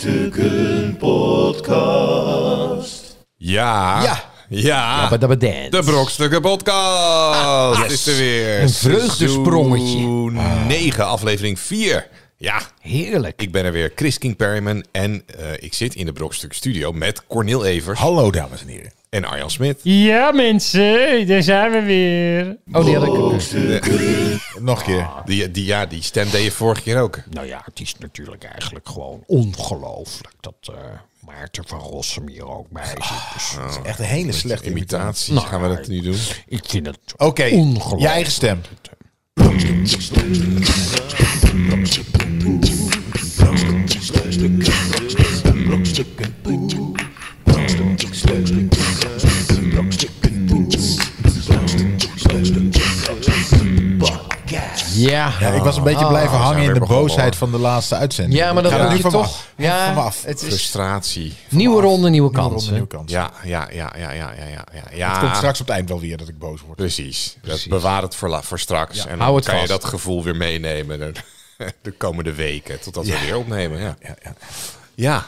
Brokstukken Podcast. Ja. Ja. Ja. Dabba dabba dance. de Brokstukken Podcast Ah, is er weer. Een vreugdesprongetje. Seizoen 9, aflevering 4. Ja, Heerlijk. ik ben er weer. Chris King Perryman en eh, ik zit in de Brokstuk Studio met Cornel Evers Hallo dames en heren. en Arjan Smit. Ja, mensen, daar zijn we weer. Oh, die had ik. Nog een keer. Die, die, ja, die stem deed je vorige keer ook. Nou ja, het is natuurlijk eigenlijk gewoon ongelooflijk dat eh, Maarten van Rossum hier ook bij zit. Dus Echt een hele slechte imitatie. Imitaties gaan we dat nu doen. ik vind het Oké, ongelooflijk. je eigen stem. Ja. Ja, ik was een beetje blijven Ah, we hangen in zijn de weer begonnen, boosheid van de laatste uitzending. Ja, maar dat Ik ga er moet je nu van me toch- af. ja, van me af. het is- Frustratie. Nieuwe ronde, nieuwe Nieuwe ronde, kansen. nieuwe kans. Ja, ja, ja, ja, ja, ja, ja. ja, Het ja. komt straks op het eind wel weer dat ik boos word. Precies. Dat bewaar het voor, la- voor straks. en dan hou het kan je vast. dat gevoel weer meenemen de, de komende weken. Totdat we weer opnemen. Ja. Ja,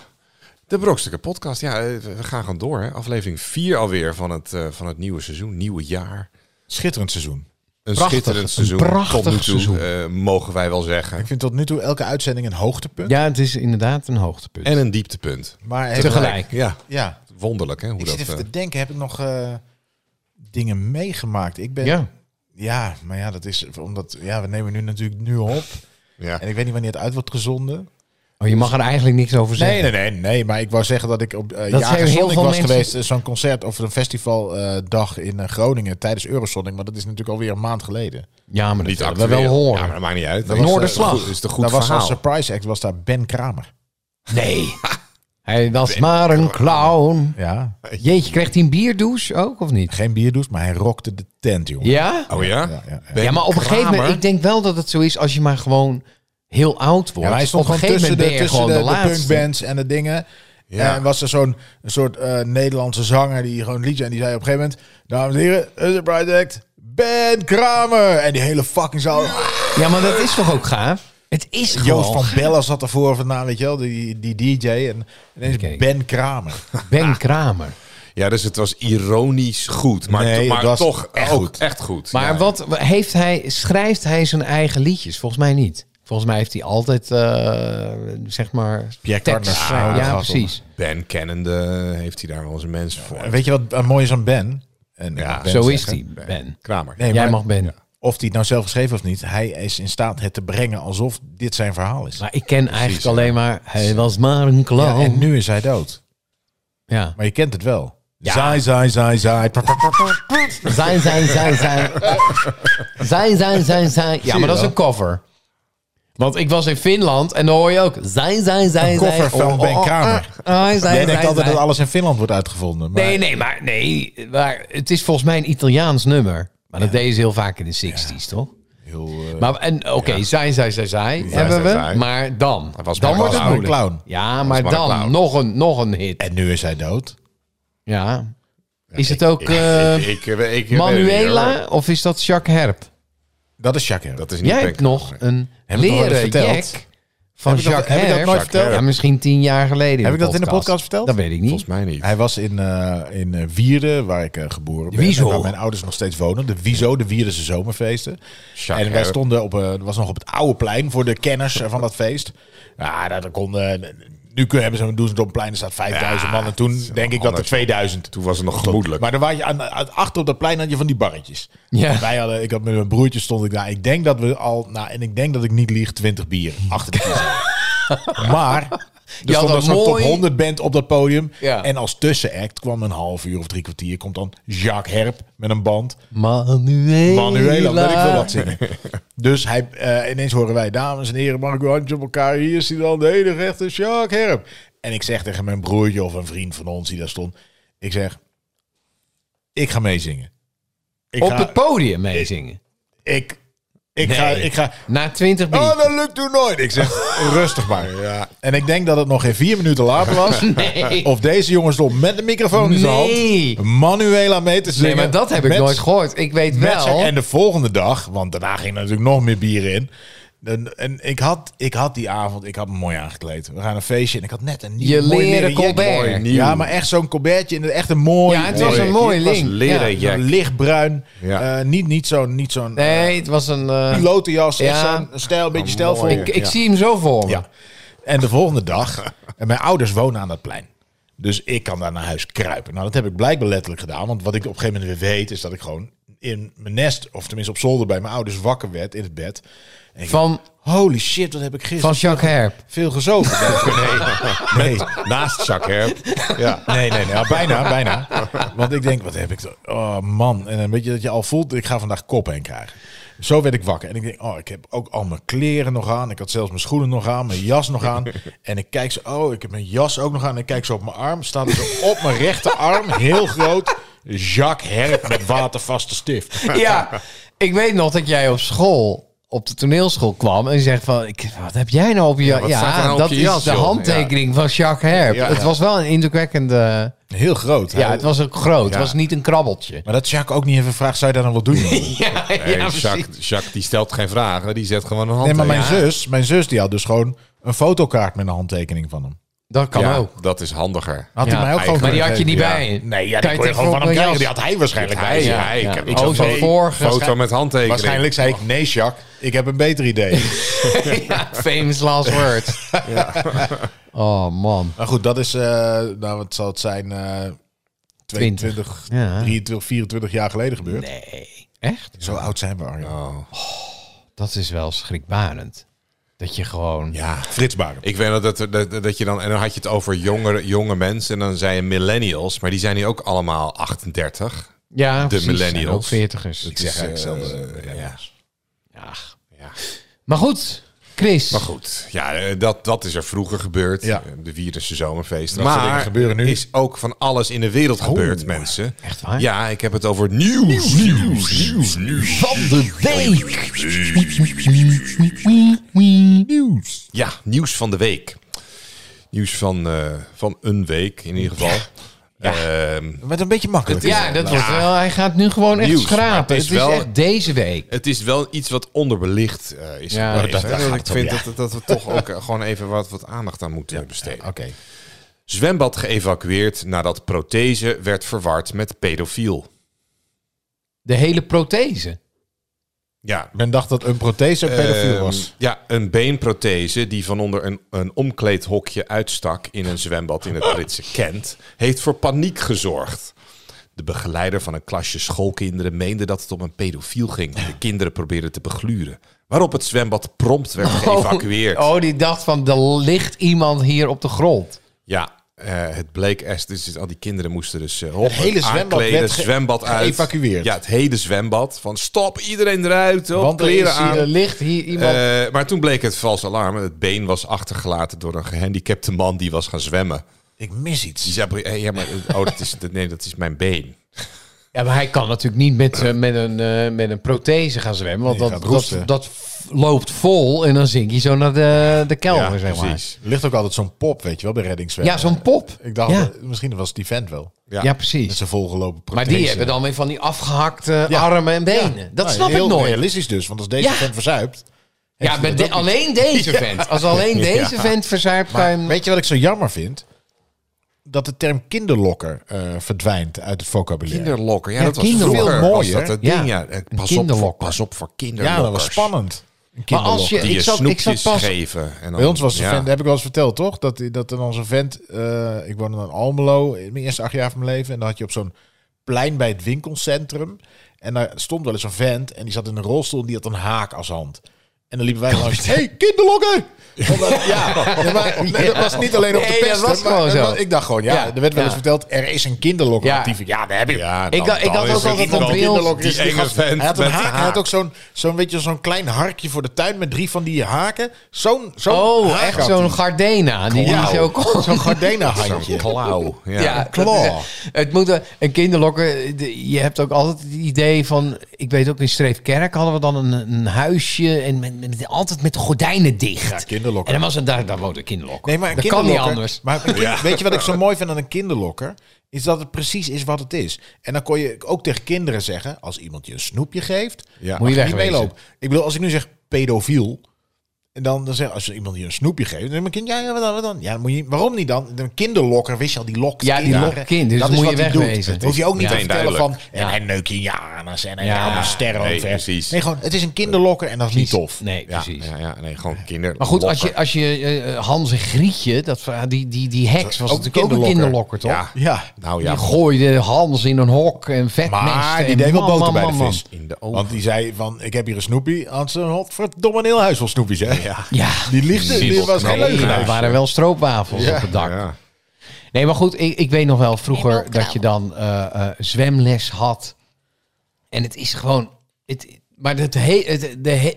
De Brokstukken Podcast. Ja, eh, we gaan gewoon door. Hè. Aflevering 4 alweer van het, eh, van het nieuwe seizoen. Nieuwe jaar. Schitterend seizoen. Een Prachtig, een schitterend seizoen. prachtig Tot nu toe, seizoen. eh, mogen wij wel zeggen. Ik vind tot nu toe elke uitzending een hoogtepunt. Ja, het is inderdaad een hoogtepunt. En een dieptepunt. Maar even- Tegelijk. Ja, Ja, wonderlijk hè. Hoe ik dat, zit even eh, te denken, heb ik nog eh, dingen meegemaakt? Ik ben... Ja. Ja, maar ja, dat is omdat... Ja, we nemen nu natuurlijk nu op. ja. En ik weet niet wanneer het uit wordt gezonden. Oh, je mag er eigenlijk niks over zeggen. Nee, nee, nee, nee, maar ik wou zeggen dat ik op eh Dat Jager zijn heel Sonic veel was mensen- geweest. eh, Zo'n concert of een festivaldag in eh, Groningen tijdens Eurosonic. Maar dat is natuurlijk alweer een maand geleden. Ja, maar dat Niet willen we actueel. wel horen. Ja, maar dat maakt niet uit. Dat is, eh, Noorderslag. goed- is de goed daar was verhaal. als surprise act was daar Ben Kramer. Nee. Hij was maar een clown. Ja, Jeetje, kreeg hij een bierdouche ook of niet? geen bierdouche, maar hij rockte de tent, jongen. Ja? Oh ja? Ja, ja, ja. Ben ja, maar op een gegeven moment, Kramer? ik denk wel dat het zo is als je maar gewoon heel oud wordt. Ja, maar hij stond op een gewoon tussen, gegeven moment de, ben je tussen de, gewoon de, de laatste. punkbands en de dingen. Ja. En was er zo'n een soort eh, Nederlandse zanger die gewoon liedje... en die zei op een gegeven moment... Dames en heren, een surprise act, Ben Kramer! En die hele fucking zaal... Ja, maar dat is toch ook gaaf? Het is Joost gewoon van Bella zat ervoor of na, weet je wel, die, die DJ en ineens Kijk. Ben Kramer. Ben Kramer. Ja, dus het was ironisch goed. Maar, Nee, maar het was toch echt ook goed. echt goed. Maar Ja. wat heeft hij, schrijft hij zijn eigen liedjes? Volgens mij niet. Volgens mij heeft hij altijd, eh, zeg maar, Pierre tekst. Cardin. Ja, Ah, dat gaat precies. Ben kennende heeft hij daar wel zijn mensen voor. En Weet je wat eh, mooi is aan Ben? En Ja, Ben Zo is zeggen. hij, Ben. Kramer. Nee, Jij maar mag Ben. Of hij het nou zelf geschreven of niet, hij is in staat het te brengen alsof dit zijn verhaal is. Maar ik ken eigenlijk alleen maar, hij was maar een Ja, clown. Ja, en nu is hij dood. Maar je kent het wel. Ja. Zaai, zaai, zaai, zaai. Pa, pa, pa, pa. Zijn, zijn, zijn, zijn. Zijn, zijn, zijn, zijn. Ja, maar dat is een cover. Want ik was in Finland en dan hoor je ook... Zijn, zijn, zijn, Een zijn. cover van Ben Kramer. ah, zijn, Jij zijn, denkt altijd zijn. dat alles in Finland wordt uitgevonden. Maar Nee, nee, maar, nee maar het is volgens mij een Italiaans nummer. Maar dat deden ze heel vaak in de 60s, toch? Heel, eh, Maar en oké, zijn, zijn, zijn, zijn hebben zijn, we. zijn. Maar dan, was dan maar was wordt het maar een moeilijk. clown. Ja, maar maar een clown. dan nog een, nog een hit. En nu is hij dood. Ja. Is het ook eh, ik, ik, ik, ik- ik- weet het niet, Manuela of is dat Jacques Herp? Dat is Jacques. hoor. Dat Dat is niet Jij Ben hebt nog Kramer. een ik nog nooit leren verteld? jack van Heb ik dat- Jacques heb ik dat Herp. nooit Jacques verteld? Ja, misschien tien jaar geleden. Heb ik dat in de podcast verteld? Dat weet ik niet. Volgens mij niet. Hij was in, eh, in eh, Wierden, waar ik eh, geboren ben. Wieso. en Waar mijn ouders nog steeds wonen. De Wieso, de Wierdense zomerfeesten. Jacques en wij Herp. stonden op, eh, dat was nog op het oude plein voor de kenners eh, van dat feest. Ja, daar konden... eh, nu kunnen hebben ze doen ze het op een plein, er staat 5000 man. En toen denk ik dat er anders. 2000. Toen was het nog gemoedelijk. Maar dan was je aan, aan- achter op dat plein had je van die barretjes. Ja. Wij hadden, ik had met mijn broertje stond ik daar. Ik denk dat we al, nou, en ik denk dat ik niet lieg, 20 bier achter de kiezer. Maar er had stond een dan zo'n top mooi- 100 band op dat podium. Ja. En als tussenact kwam een half uur of drie kwartier, komt dan Jacques Herp met een band. Manuela. Manuela, weet ik veel wat zingen. Dus hij, eh, ineens horen wij, dames en heren, mag ik uw handje op elkaar? Hier is hij dan, de hele rechter Jacques Herp. En ik zeg tegen mijn broertje of een vriend van ons die daar stond, ik zeg, ik ga meezingen. Ik Op ga, het podium meezingen. Ik, ik, ga, Nee. ik ga, Na twintig minuten. oh, dat lukt toen nooit. Ik zeg, rustig maar. Ja. En ik denk dat het nog geen vier minuten later was. nee. Of deze jongen stond met een microfoon in zijn Nee. hand. Manuela mee te zingen. nee, maar dat heb ik met nooit gehoord. Ik weet met zijn- wel. en de volgende dag, want daarna ging er natuurlijk nog meer bier in. En, en ik, had, ik had die avond, ik had me mooi aangekleed. We gaan een feestje en ik had net een nieuw Je mooi leren leren jekje. colbert. Mooi, nieuw. Ja, maar echt zo'n colbertje. en Echt een mooi. Ja, het was een mooi Het was link. leren Ja. jack. lichtbruin. Ja. Eh, niet, niet zo'n niet zo'n eh, Nee, het was een... eh, pilotenjas. Echt Ja. zo'n stijl, een beetje Ah, stijlvol. mooi. ik ik zie hem zo voor me. Ja. En de volgende dag, en mijn ouders wonen aan dat plein. Dus ik kan daar naar huis kruipen. Nou, dat heb ik blijkbaar letterlijk gedaan. Want wat ik op een gegeven moment weer weet, is dat ik gewoon in mijn nest, of tenminste op zolder bij mijn ouders, wakker werd in het bed. En ik Van, dacht, holy shit, wat heb ik gisteren van Jacques Herp. veel gezogen. nee, nee. Naast Jacques Herp. Ja. Nee, nee, nee. Ja, bijna, bijna. Want ik denk, wat heb ik... toch- Oh, man. En dan weet je dat je al voelt, ik ga vandaag kop heen krijgen. Zo werd ik wakker. En ik denk, oh, ik heb ook al mijn kleren nog aan. Ik had zelfs mijn schoenen nog aan, mijn jas nog aan. En ik kijk zo, oh, ik heb mijn jas ook nog aan. En ik kijk zo op mijn arm, staat er zo op mijn rechterarm, heel groot... Jacques Herp met watervaste stift. Ja, ik weet nog dat jij op school, op de toneelschool kwam en je zegt van, ik, wat heb jij nou op je Ja, wat staat er nou op dat je is jas, de joh? handtekening van Jacques Herp. Ja, het ja. was wel een indrukwekkende... Heel groot. Ja, het was ook groot. Het Ja. was niet een krabbeltje. Maar dat Jacques ook niet even vraagt, zou je daar dan wat doen? Ja, Nee, Jacques, Jacques die stelt geen vragen, die zet gewoon een hand. Nee, maar mijn eh, Ja. zus, mijn zus die had dus gewoon een fotokaart met een handtekening van hem. Dat kan Ja, ook. dat is handiger. Had Ja, hij mij ook gewoon eigenlijk. Maar die had je niet Ja. bij je. Nee, ja, die Kan kon je je gewoon tegen van hem op krijgen. jas? Die had hij waarschijnlijk bij Hij, zich. ja, ik heb ik Oh, zat zo'n mee. vorige foto met handtekening. Waarschijnlijk zei ik, nee Jacques, ik heb een beter idee. Ja, famous last words. Oh man. maar goed, dat is, eh, nou wat zal het zijn, eh 22, Ja. 23, 24 jaar geleden gebeurd. Nee. Echt? Zo oud zijn we, Arjan. Oh. Dat is wel schrikbarend. Dat je gewoon... Ja, Frits Barend. ik weet nog dat, dat, dat je dan... En dan had je het over jongere, jonge mensen en dan zei je millennials. Maar die zijn nu ook allemaal 38. Ja, de millennials. Ook veertigers. Ik zeg eigenlijk eh, zelden, eh, ja. ja. Ja. Ja. Maar goed, Chris. Maar goed, ja, eh, dat, dat is er vroeger gebeurd. Eh, Ja. De Vierdense zomerfeest. Dat soort dingen gebeuren nu. is ook van alles in de wereld gebeurd, mensen. Echt waar? Ja, ik heb het over nieuws, nieuws, nieuws, nieuws. Van de week. Ja, nieuws van de week. Nieuws van, eh, van een week in ieder geval. Ehm, Werd een beetje makkelijk. Ja, dat wordt wel... Hij gaat nu gewoon echt Nieuws, maar het schrapen. is Het is wel- echt deze week. het is wel iets wat onderbelicht eh, is. Ja, geweest, dat- hè. daar gaat ik het om, vind ja. dat, dat we toch ook eh, gewoon even wat, wat aandacht aan moeten besteden. Oké. Zwembad geëvacueerd nadat prothese werd verward met pedofiel. De hele prothese. Ja, Men dacht dat een prothese een pedofiel was. Ehm, ja, een beenprothese die van onder een, een omkleedhokje uitstak in een zwembad in het Britse Kent, heeft voor paniek gezorgd. De begeleider van een klasje schoolkinderen meende dat het om een pedofiel ging die de kinderen probeerden te begluren. Waarop het zwembad prompt werd geëvacueerd. Oh, die dacht van, er ligt iemand hier op de grond. Ja, eh, het bleek echt. Dus al die kinderen moesten dus eh hoppen, hele zwembad aankleden, werd ge- zwembad uit. geëvacueerd. Ja, het hele zwembad. Van stop, iedereen eruit. Op, Want er kleren is eh, hier aan. Er ligt hier iemand... Eh, maar toen bleek het vals alarm. Het been was achtergelaten door een gehandicapte man die was gaan zwemmen. Ik mis Die iets. zei, "Hey, ja, maar, oh, dat is, dat- nee, dat is mijn been. Ja, maar hij kan natuurlijk niet met, eh, met, een, eh, met een prothese gaan zwemmen. Want Nee, dat, gaat roesten. dat, dat f- loopt vol en dan zink je zo naar de, de Oh, kelder, ja, zeg maar. Er ligt ook altijd zo'n pop, weet je wel, bij reddingszwemmen. Ja, zo'n pop. Ik dacht, Ja. eh, misschien was die vent wel. Ja. Ja, Met precies. zijn volgelopen Maar prothese. die hebben dan weer van die afgehakte Ja. armen en benen. Dat Nou, snap heel ik nooit. realistisch dus, want als deze Ja. vent verzuipt... Ja, met de- alleen deze vent. Als alleen deze vent verzuipt, kan je hem- Weet je wat ik zo jammer vind? Dat de term kinderlokker eh, verdwijnt uit het vocabulaire. Kinderlokker. Ja, Ja, dat was kinderlokker. vroeger. Veel was mooier. dat het Ja. ding, ja. Eh, Een Pas op, voor, kinderlokker. pas op voor kinderlokkers. ja, dat was spannend. Een Maar als kinderlokker. je... Die je Ik zat, ik snoepjes zat pas... geven. En dan, Bij ons was een ja. vent, heb ik wel eens verteld, toch? Dat, dat er dan zo'n vent... eh, ik woonde dan in Almelo, in mijn eerste acht jaar van mijn leven. En dan had je op zo'n plein bij het winkelcentrum. En daar stond wel eens een vent. En die zat in een rolstoel en die had een haak als hand. En dan liepen wij langs. hey, kinderlokken! Omdat- ja, ja, maar nee, dat was niet alleen op de Nee, pest. dat was gewoon zo. Ik dacht gewoon, ja, Ja, er werd wel eens ja. verteld, er is een kinderlokker. Ja. Ja, ja daar heb je Ja, Ik had- ik had is ook er altijd iemand een die bril. kinderlokker is Die die enge enge vent Hij had een met haak. haak. Hij had ook zo'n zo'n weet je, zo'n klein harkje voor de tuin met drie van die haken. Zo'n zo'n Oh, haak echt had zo'n hij. Gardena. Die, die Klauw. zo kon. Zo'n Zo'n gardenenhandje. klauw. Ja. Ja, een claw. dat is- Het moet een- een kinderlokker. de- Je hebt ook altijd het idee van. Ik weet ook in Streefkerk hadden we dan een, een huisje en met, met- altijd met de gordijnen dicht. Ja, en kinderlokker. dan was het daar, daar woonde een kinderlokker. Nee, maar een dat kan kinderlokker, niet anders. Maar een kind- weet je wat ik zo mooi vind aan een kinderlokker? Is dat het precies is wat het is. En dan kon je ook tegen kinderen zeggen, als iemand je een snoepje geeft, Ja. mag Moet je niet wegwezen. meelopen. Ik bedoel, als ik nu zeg pedofiel, En dan, dan zeg als er iemand je een snoepje geeft, dan zeg je, maar kind, ja, ja, wat dan, wat dan? Ja, dan moet je, waarom niet dan? Een kinderlokker, wist je al, die lokt Ja, die kinderen. lokt kind, dus dat moet is je wat hij doet. wegwezen. Dat hoef je ook niet te Meteen vertellen duidelijk. van, en hij neukt je in je anus en hij Ja. haalt een ster Nee, over. precies. Nee, gewoon, het is een kinderlokker en dat is niet tof. Nee, Ja, precies. ja, ja, nee, gewoon kinder. Maar goed, als je, als je eh, Hans en Grietje, dat, verhaal- die, die, die heks was Ook natuurlijk ook een kinderlokker. kinderlokker, toch? Ja, Ja, nou Die ja. gooide Hans in een hok en vetmesten. maar die en deed wel man, boter man, bij de man, man. vis. In de ogen. Want die zei van, ik heb hier een snoepie. Had ze een godverdomme een heel huis vol snoepies, hè? Ja. Ja. Die liefde, die Zibel was geen knallen. leugen. Ja, het waren wel stroopwafels op het dak. Ja. Nee, maar goed, ik, ik weet nog wel Nee, vroeger maar ook dat je dan eh, eh, zwemles had. En het is gewoon... Het, maar het he- het, de he-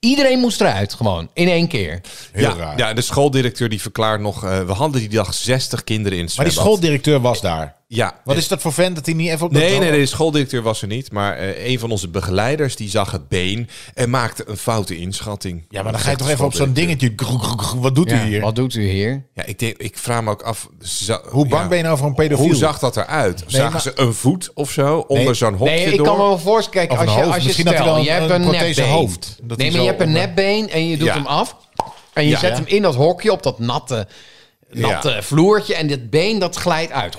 iedereen moest eruit, gewoon. In één keer. Heel ja, raar. ja, de schooldirecteur die verklaart nog... eh, we hadden die dag 60 kinderen in het Maar die zwembad. schooldirecteur was daar. Ja. eh, Wat is dat voor vent dat hij niet even op Nee, dat... nee, nee, de schooldirecteur was er niet. Maar eh, een van onze begeleiders die zag het been en maakte een foute inschatting. Ja, maar dan Dat ga je zegt toch de even op zo'n schooldirecteur. dingetje. groek, groek, groek, Wat doet Ja, hij hier? Wat doet u hier? Ja, ik, denk, ik vraag me ook af... za- Hoe bang ja, ben je nou voor een pedofiel? Hoe zag dat eruit? Zagen maar- ze een voet of zo onder Nee, zo'n hokje Nee, ik door? kan me wel voorstellen. Of Kijk, een als je, hoofd. als je Misschien dat hij stel, dan je hebt een een prothese nepbeen. hoofd. Dat nee, hij maar je zo eh, hebt een op een- nepbeen en je doet Ja. hem af. En je Ja. zet Ja. hem in dat hokje op dat natte, natte vloertje. En dat been dat glijdt uit.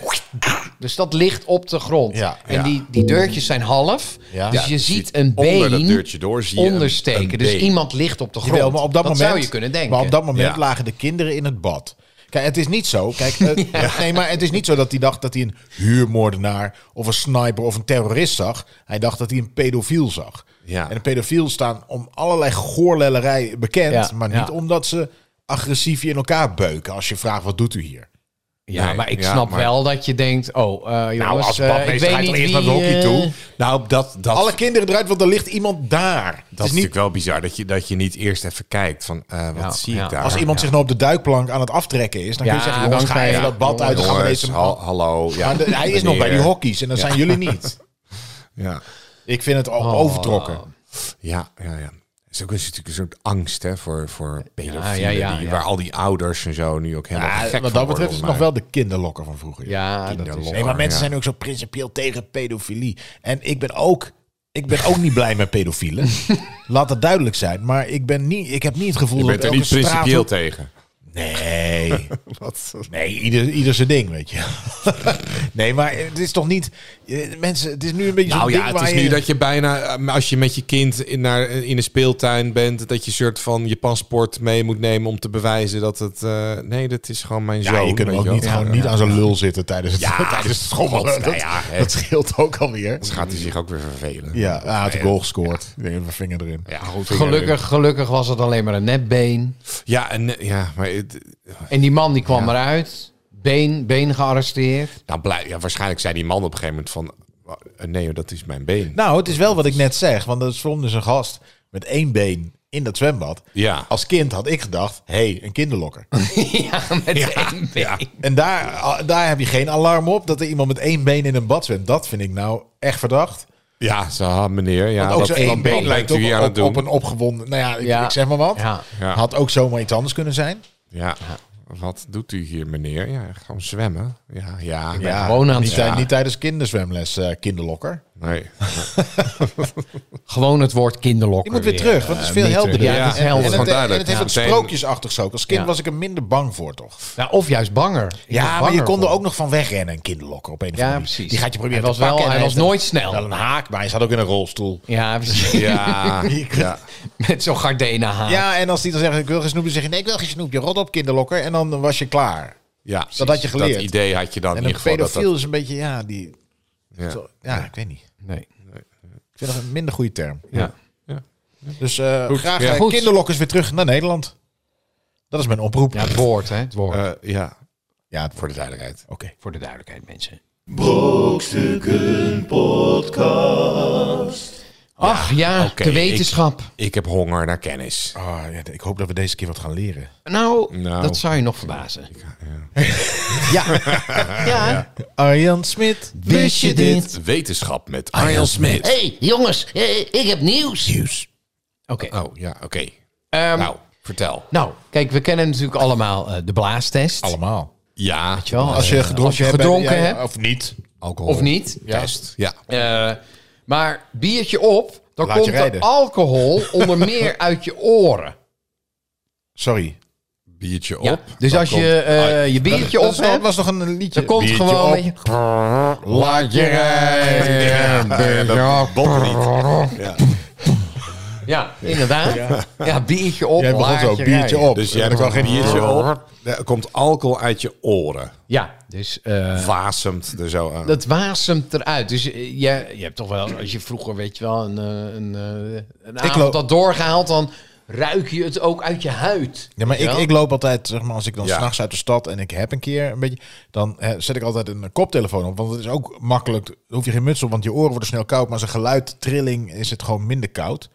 Dus dat ligt op de grond. Ja. En Ja. Die, die deurtjes zijn half. Ja. Dus Ja, je ziet een been onder dat deurtje door zie je een- ondersteken. een dus been. iemand ligt op de grond. Jawel, maar op dat, moment, zou je kunnen denken. Maar op dat moment Ja. lagen de kinderen in het bad. Kijk, het is niet zo. Kijk, het- nee, maar het is niet zo dat hij dacht dat hij een huurmoordenaar of een sniper of een terrorist zag. Hij dacht dat hij een pedofiel zag. Ja. En de pedofiel staan om allerlei goorlellerij bekend, Ja, maar ja. niet omdat ze agressief je in elkaar beuken. Als je vraagt wat doet u hier? ja, Nee, maar ik ja, snap maar- wel dat je denkt... Oh, eh Nou, jongens, als eh, badmeester ik weet ga je niet toch eerst wie, naar het hokje eh, toe? Nou, dat, dat, Alle kinderen eruit, want er ligt iemand daar. Het dat is is niet natuurlijk wel bizar. Dat je, dat je niet eerst even kijkt van eh, wat Ja, zie ik ja. daar? als iemand zich nou op de duikplank aan het aftrekken is, dan kun Ja, je zeggen: jongens, dan ga ga je- even dat bad uit, dan gaan we Jongens, deze hal- hallo. Ja, Maar de- hij is nog bij die meneer. hockey's en dat zijn jullie niet. Ja. Ik vind het al Oh, nou, overtrokken. Ja, ja, ja. Het is ook een- natuurlijk een soort angst hè, voor, voor pedofielen. ja, ja, die- ja. Waar al die ouders en zo nu ook helemaal Ja, wat gek van dat worden, betreft is het nog maar- wel de kinderlokker van vroeger. Ja, dat is... Kinderlokker. Nee, maar mensen ja. zijn ook zo principieel tegen pedofilie. En ik ben ook, ik ben ook niet blij met pedofielen. Laat dat duidelijk zijn. Maar ik, ben niet, ik heb niet het gevoel Je dat bent er elke niet principieel straathoek- tegen. Nee. Nee, ieder, ieder zijn ding, weet je. nee, maar het is toch niet... eh, Mensen, het is nu een beetje Nou zo'n ding ja, het is waar nu je- dat je bijna, eh, als je met je kind in, naar, eh, in een speeltuin bent, dat je soort van je paspoort mee moet nemen om te bewijzen dat het. eh, nee, dat is gewoon mijn Ja, zoon. je kunt hem weet ook wel. niet, Ja, gewoon ja. niet aan zo'n lul zitten tijdens het, tijdens het schommelen. God, nou dat, ja, hè. dat scheelt ook alweer. Anders gaat hij zich ook weer vervelen. Ja, hij had een goal gescoord. Ik denk dat we vinger erin. Ja, goed, Gelukkig, gelukkig was het alleen maar een nepbeen. Ja, en, eh, ja maar het, En die man die kwam eruit. Been, been gearresteerd. nou, blij, ja, waarschijnlijk zei die man op een gegeven moment van. eh, Nee, hoor, dat is mijn been. Nou, het is wel wat ik net zeg. Want er stond dus een gast met één been in dat zwembad. Ja. Als kind had ik gedacht, hé, hey, een kinderlokker. ja, met één been. en daar, ah, daar heb je geen alarm op dat er iemand met één been in een bad zwemt. Dat vind ik nou echt verdacht. Ja, zo, ah, meneer. Ja, Want ook dat zo'n dat Nou, één been lijkt lijkt u ook hier aan op, het doen. op een opgewonden... Nou ja, ik, Ja. ik zeg maar wat. Ja. Ja. Had ook zomaar iets anders kunnen zijn. Ja. Wat doet u hier, meneer? Ja, gewoon zwemmen. Ja, ja. Ja, gewoon aan het niet, tij- zwemmen. niet tijdens kinderzwemles, eh, kinderlokker. Nee. Gewoon het woord kinderlok. Ik moet weer terug, want het is veel niet helderder. terug. Ja, het is helder. En, en, Gewoon het, en duidelijk. het heeft Ja. wat Meteen- sprookjesachtig zo. Als kind Ja. was ik er minder bang voor, toch? Nou, of juist banger. Ik was Ja, maar je banger kon er voor. ook nog van wegrennen, een kinderlokker op een of Ja, andere manier. precies. Die gaat je proberen Hij te was wel- pakken. Nou, en hij was heeft nooit snel. Wel een haak, maar hij zat ook in een rolstoel. Ja, precies. Ja. ja. met zo'n gardenenhaar. Ja, en als die dan zegt, ik wil geen snoepje, zeggen nee, ik wil geen snoepje. Rot op, kinderlokker. En dan was je klaar. ja. Dat had je geleerd. Dat idee had je dan En in een ieder geval. Dat pedofiel dat, is een beetje, ja, die... ja. zo- Ja, ik weet niet. Nee. Ik vind dat een minder goede term. Ja. Dus eh, graag Ja, eh, goed. kinderlokkers weer terug naar Nederland. Dat is mijn oproep. ja, het woord, hè. Het woord. Eh, ja. Ja, voor Voor de duidelijkheid. Oké. voor de duidelijkheid, mensen. Brokstukken Podcast. Ach ja, oké, de wetenschap. Ik heb honger naar kennis. Ah, ja, ik hoop dat we deze keer wat gaan leren. Nou, Nou. dat zou je nog verbazen. Ja. Ja. Arjan Smit. Wist je dit? Wetenschap met Arjan Smit. hey, jongens, eh, ik heb nieuws. Oké. Oh, ja, oké. Ehm, nou. Nou, vertel. kijk, we kennen natuurlijk allemaal eh, de blaastest. Allemaal. Ja. Weet je wel, Als je gedronken, Eh, als je hebt, gedronken ja, ja, hebt. Of niet. Alcohol. Of niet? Test. Ja. Eh, maar biertje op, dan Laat je komt rijden. de alcohol onder meer uit je oren. Sorry. Biertje op. Ja, dus dan als komt- je eh, je Dat biertje op was, dat hebt, was toch een liedje? dan komt Biertje gewoon... op. weet je, Laat je rijden. Ja, dat botte niet. Ja. Ja, inderdaad. Ja, biertje op, Jij begon laatje zo, biertje rijden. op. Dus jij Dat kan was geen een- biertje op. Er komt alcohol uit je oren. Ja, dus eh, Wasemt er zo aan. dat wasemt eruit. Dus eh, je, je hebt toch wel, als je vroeger, weet je wel, een, eh, een, eh, een loop- avond had doorgehaald, dan ruik je het ook uit je huid. Ja, maar Weet je ik, wel? ik loop altijd, zeg maar, als ik dan Ja. s'nachts uit de stad en ik heb een keer een beetje, dan eh, zet ik altijd een koptelefoon op. Want het is ook makkelijk, dan hoef je geen muts op, want je oren worden snel koud. Maar zijn geluid, trilling, is het gewoon minder koud.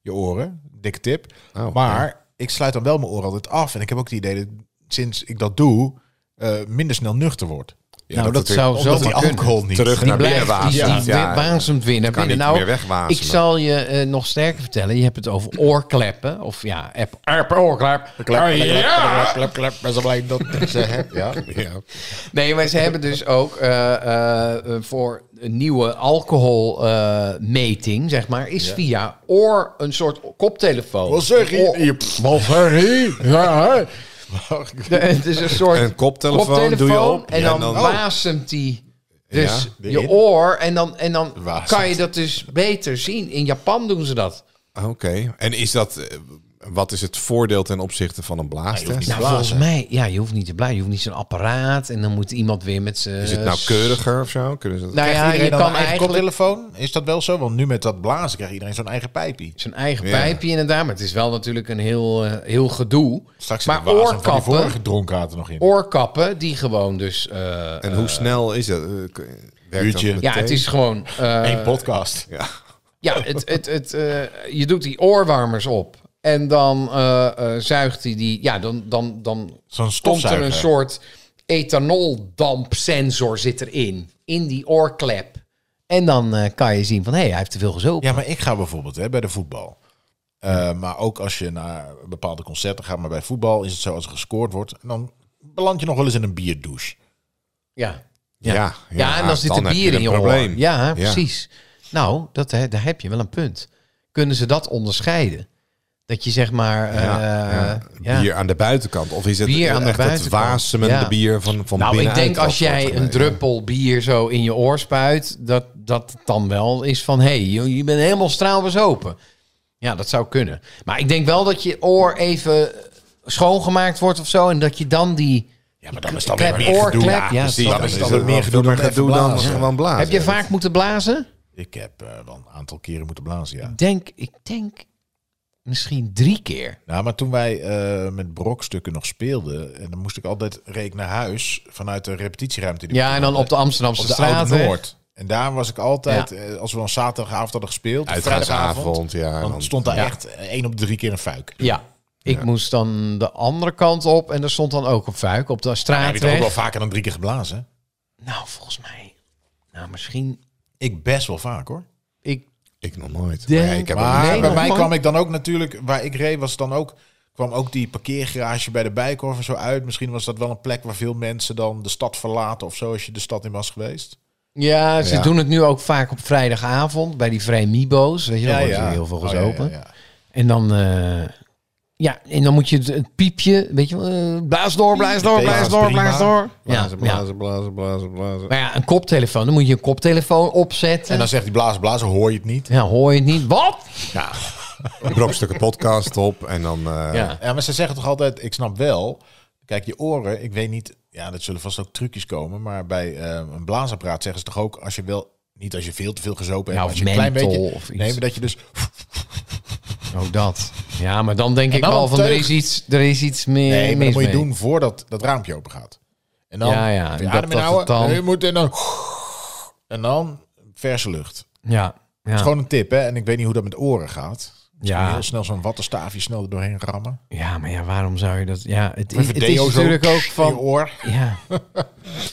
Je oren, dikke tip. Oh, maar ik sluit dan wel mijn oren altijd af. En ik heb ook het idee dat sinds ik dat doe, eh, minder snel nuchter wordt. Ja, nou, dat, natuurlijk- zou Omdat zo die alcohol niet. Terug Die naar blijft, binnen die, die wasemt. wi- wasemt weer naar kan binnen. niet Nou, meer wegwasemen. ik zal je eh, nog sterker vertellen. Je hebt het over oorkleppen. Of ja, app, app oorklep. Ah, ja. klap, klap. Ben zo blij dat ik ze heb. Ja. Ja. Nee, maar ze hebben dus ook eh, eh, eh, voor een nieuwe alcoholmeting, zeg maar, is via oor een soort koptelefoon. Wat zeg Oh, Oor- je? Wat zeg je? Ja, hè? De- het is een soort Een koptelefoon doe je op. En Ja, dan, dan- wasemt die dus Ja, je in. oor. En dan, en dan Wasemt. kan je dat dus beter zien. In Japan doen ze dat. Oké. En is dat... eh, Wat is het voordeel ten opzichte van een blaastest? Nou, volgens mij, ja, je hoeft niet te blijven. Je hoeft niet zo'n apparaat. En dan moet iemand weer met zijn... Is het nou keuriger of zo? Kunnen ze dat... Eh, Nou ja, je Iedereen dan kan een eigen eigenlijk koptelefoon? Is dat wel zo? Want nu met dat blazen krijgt iedereen zo'n eigen pijpie. zijn eigen Ja. pijpje inderdaad. Maar het is wel natuurlijk een heel, eh, heel gedoe. Straks maar maar oorkappen. Van die oorkappen, vorige dronkaart er nog in. oorkappen die gewoon dus... eh, en hoe snel is dat? Eh, k- Werkt Uurtje. dat ja, het is gewoon... eh, Eén podcast. Ja. Ja, het, het, het, eh, je doet die oorwarmers op. En dan eh, eh, zuigt hij die. Ja, dan, dan, dan Zo'n komt er een stofzuiger. soort ethanoldampsensor zit erin. In die oorklep. En dan eh, kan je zien van hé, hey, hij heeft te veel gezopen. Ja, maar ik ga bijvoorbeeld hè, bij de voetbal. Eh, Maar ook als je naar bepaalde concerten gaat. Maar bij voetbal is het zo als er gescoord wordt. Dan beland je nog wel eens in een bierdouche. Ja, Ja. Ja, ah, ja, en dan zit er heb bier in een je probleem. oor. Ja, precies. Nou, dat, hè, daar heb je wel een punt. Kunnen ze dat onderscheiden? Dat je zeg maar. eh, Ja, ja, Bier aan de buitenkant. Of is het Bier aan de echt het buitenkant, wasemende ja. bier van, van Nou, ik binnenuit denk als af wordt jij een gereden? druppel bier zo in je oor spuit, dat dat het dan wel is van hé, hey, je je bent helemaal straalbes open. Ja, dat zou kunnen. Maar ik denk wel dat je oor even schoongemaakt wordt of zo en dat je dan die. Ja, maar dan is dat Klep, weer meer gedoe. oorklep, Ja, ja, precies. dat Dan is is dat het weer meer gedoe dan even gedoe dan blazen. gewoon blazen. heb je vaak moeten blazen? Ik heb eh, wel een aantal keren moeten blazen, ja. Ik Denk, ik denk misschien drie keer. Nou, maar toen wij eh, met brokstukken nog speelden... en dan moest ik altijd reek naar huis vanuit de repetitieruimte. die we Ja, toen en dan hadden. op de Amsterdamse op de straat. Oude hè? Noord. En daar was ik altijd, eh, als we dan zaterdagavond hadden gespeeld, of vrijdagavond, Uitgaansavond, ja. dan dan- stond daar echt eh, één op de drie keer een fuik. Ja. Ik moest dan de andere kant op en er stond dan ook een fuik op de Ja, heb je toch ook straatweg. wel vaker dan drie keer geblazen? Nou, volgens mij. Nou, misschien. Ik best wel vaak hoor. Ik Ik nog nooit. Denk- Maar ja, ik heb Maar nee, bij nog mij man. kwam ik dan ook natuurlijk, waar ik reed was dan ook, kwam ook die parkeergarage bij de Bijkorf en zo uit. Misschien was dat wel een plek waar veel mensen dan de stad verlaten of zo, als je de stad in was geweest. Ja, ze Ja. doen het nu ook vaak op vrijdagavond bij die vrij Mibo's. Weet je, dan wordt er heel veel Oh, gezopen. ja, ja, ja. En dan, eh, ja, en dan moet je het, het piepje, weet je, wel, eh, blaas door, blaas door, blaas door, blaas door. Ja, Blazen, ja. blazen, blazen, blazen, blazen. Maar ja, een koptelefoon, dan moet je een koptelefoon opzetten. En dan zegt die blazen, blazen, hoor je het niet. ja, hoor je het niet. Wat? Brokstukken podcast op en dan... eh, ja. Ja, maar ze zeggen toch altijd, ik snap wel. Kijk, je oren, ik weet niet, ja, dat zullen vast ook trucjes komen. Maar bij eh, een blaasapparaat zeggen ze toch ook, als je wel, niet als je veel te veel gezopen hebt, Ja, maar of als je een klein menthol beetje, of iets. nee, maar dat je dus, Oh, dat. Ja, maar dan denk ik dan wel een van, er teug. is iets, er is iets meer nee, maar mis dat moet je mee. doen voordat dat raampje open gaat. En dan, Ja, ja, weer dat- adem dat inhouden, het dan- nee, je moet en dan, en dan verse lucht. Dat Ja, ja, is gewoon een tip, hè. En ik weet niet hoe dat met oren gaat. Ja. ja, Heel snel zo'n wattenstaafje snel er doorheen rammen. ja, maar ja, waarom zou je dat... Ja, het, Even het is deo zo natuurlijk ook in je van... oor. Ja.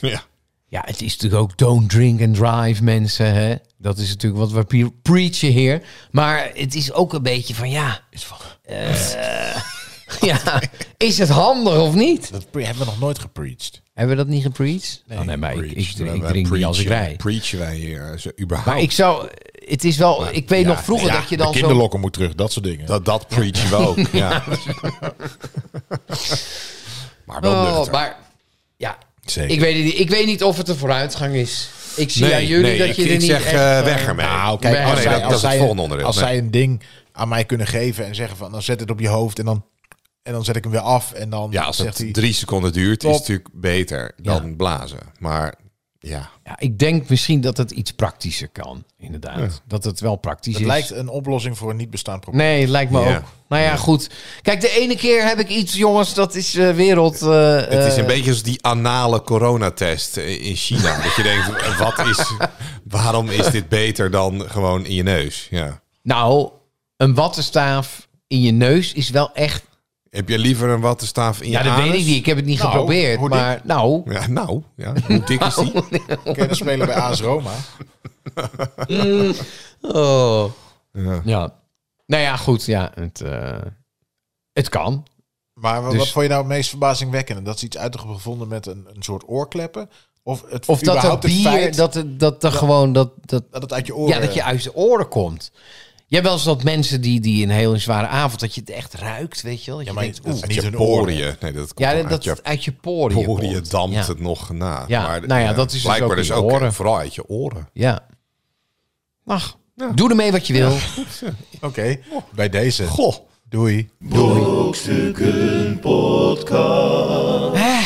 ja. Ja, het is natuurlijk ook don't drink and drive, mensen. Hè? Dat is natuurlijk wat we pre- preachen hier. Maar het is ook een beetje van ja. Is van- ja is het handig of niet? Dat pre- hebben we nog nooit gepreached. Hebben we dat niet gepreached? Oh, Nee, nee maar ik, ik, Preach. ik Wij- wij drink niet als ik preachen- rij. Preachen wij hier eh, zo, überhaupt. Maar ik zou, het is wel, ik weet nog vroeger Ja, dat je de dan zo... kinderlokken moet terug, dat soort dingen. Dat, dat preachen we ook. Ja. maar wel Oh, nuchter. maar ja, Zeker. ik weet, het niet, ik weet niet of het een vooruitgang is. Ik zie aan jullie dat je ik, er ik niet zeg echt, eh, eh, weg ermee. Nou, kijk, Nee, als, oh nee, zij, dat- als dat is het zij- volgende onderdeel. Als Nee. zij een ding aan mij kunnen geven en zeggen van, dan zet het op je hoofd en dan, en dan zet ik hem weer af en dan ja, als zegt het hij... drie seconden duurt, is Top. het natuurlijk beter dan blazen. Maar ja, Ja, ik denk misschien dat het iets praktischer kan, inderdaad. Dat het wel praktisch Het is. lijkt een oplossing voor een niet bestaand probleem. Nee, het lijkt me Ja. ook. Nou ja, goed. Kijk, de ene keer heb ik iets, jongens, dat is eh, wereld... eh, het is eh, een beetje als die anale coronatest eh, in China. dat je denkt, wat is, waarom is dit beter dan gewoon in je neus? Ja. Nou, een wattenstaaf in je neus is wel echt... Heb je liever een wattenstaaf in je Ja, dat anus? weet ik niet. Ik heb het niet Nou, geprobeerd. hoe dik? Maar nou, Ja, nou, ja. hoe dik is die? Kun je dat spelen bij AS Roma? Oh. Ja. Nou ja, goed. Ja, het, eh, het kan. Maar wat, Dus- wat vond je nou het meest verbazingwekkend? Dat ze iets uit hebben gevonden met een, een soort oorkleppen? Of, het, Of dat er überhaupt het bier, feit dat, dat, er- dat er gewoon... Dat, dat, het uit je oren... ja, dat je uit de oren komt. Je hebt wel eens dat mensen die, die een hele zware avond... dat je het echt ruikt, weet je wel. Dat Ja, je maar denkt, het- oeh. het- Uit Niet je hun oren. poriën. Nee, dat komt ja, dan dat uit het je uit, je poriën poriën komt. dampt ja. het nog na. Ja, nou ja, dat is dus blijkbaar ook in dus je ook oren. eh, vooral uit je oren. Ja. Ach, doe ermee wat je wil. Oké, bij deze. Goh. Doei. Brokstukken Podcast. Ja,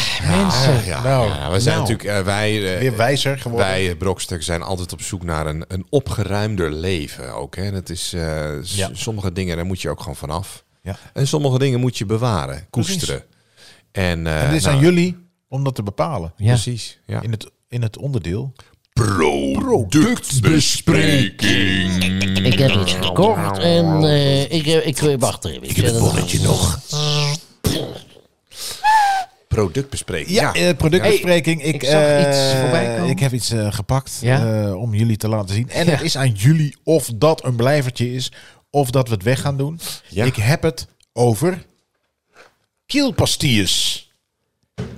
Ah, ja, Nou, ja, we zijn nou. natuurlijk, eh, wij, eh, Weer wijzer geworden. wij eh, brokstuk zijn altijd op zoek naar een, een opgeruimder leven ook. Hè. Dat is, eh, s- Ja. Sommige dingen, daar moet je ook gewoon vanaf. Ja. En sommige dingen moet je bewaren, koesteren. En, eh, En dit zijn nou, jullie om dat te bepalen. Ja. Precies, ja. In, het, in het onderdeel. Productbespreking. Ik heb iets gekocht en eh, ik, heb- ik, wacht even. Ik, zet het aan. nog. Productbespreking. Ja, eh, productbespreking. ik, ik zag eh, iets voorbij komen. Ik heb iets eh, gepakt Ja? eh, om jullie te laten zien. En het is aan jullie of dat een blijvertje is of dat we het weg gaan doen. Ja. Ik heb het over kielpastilles.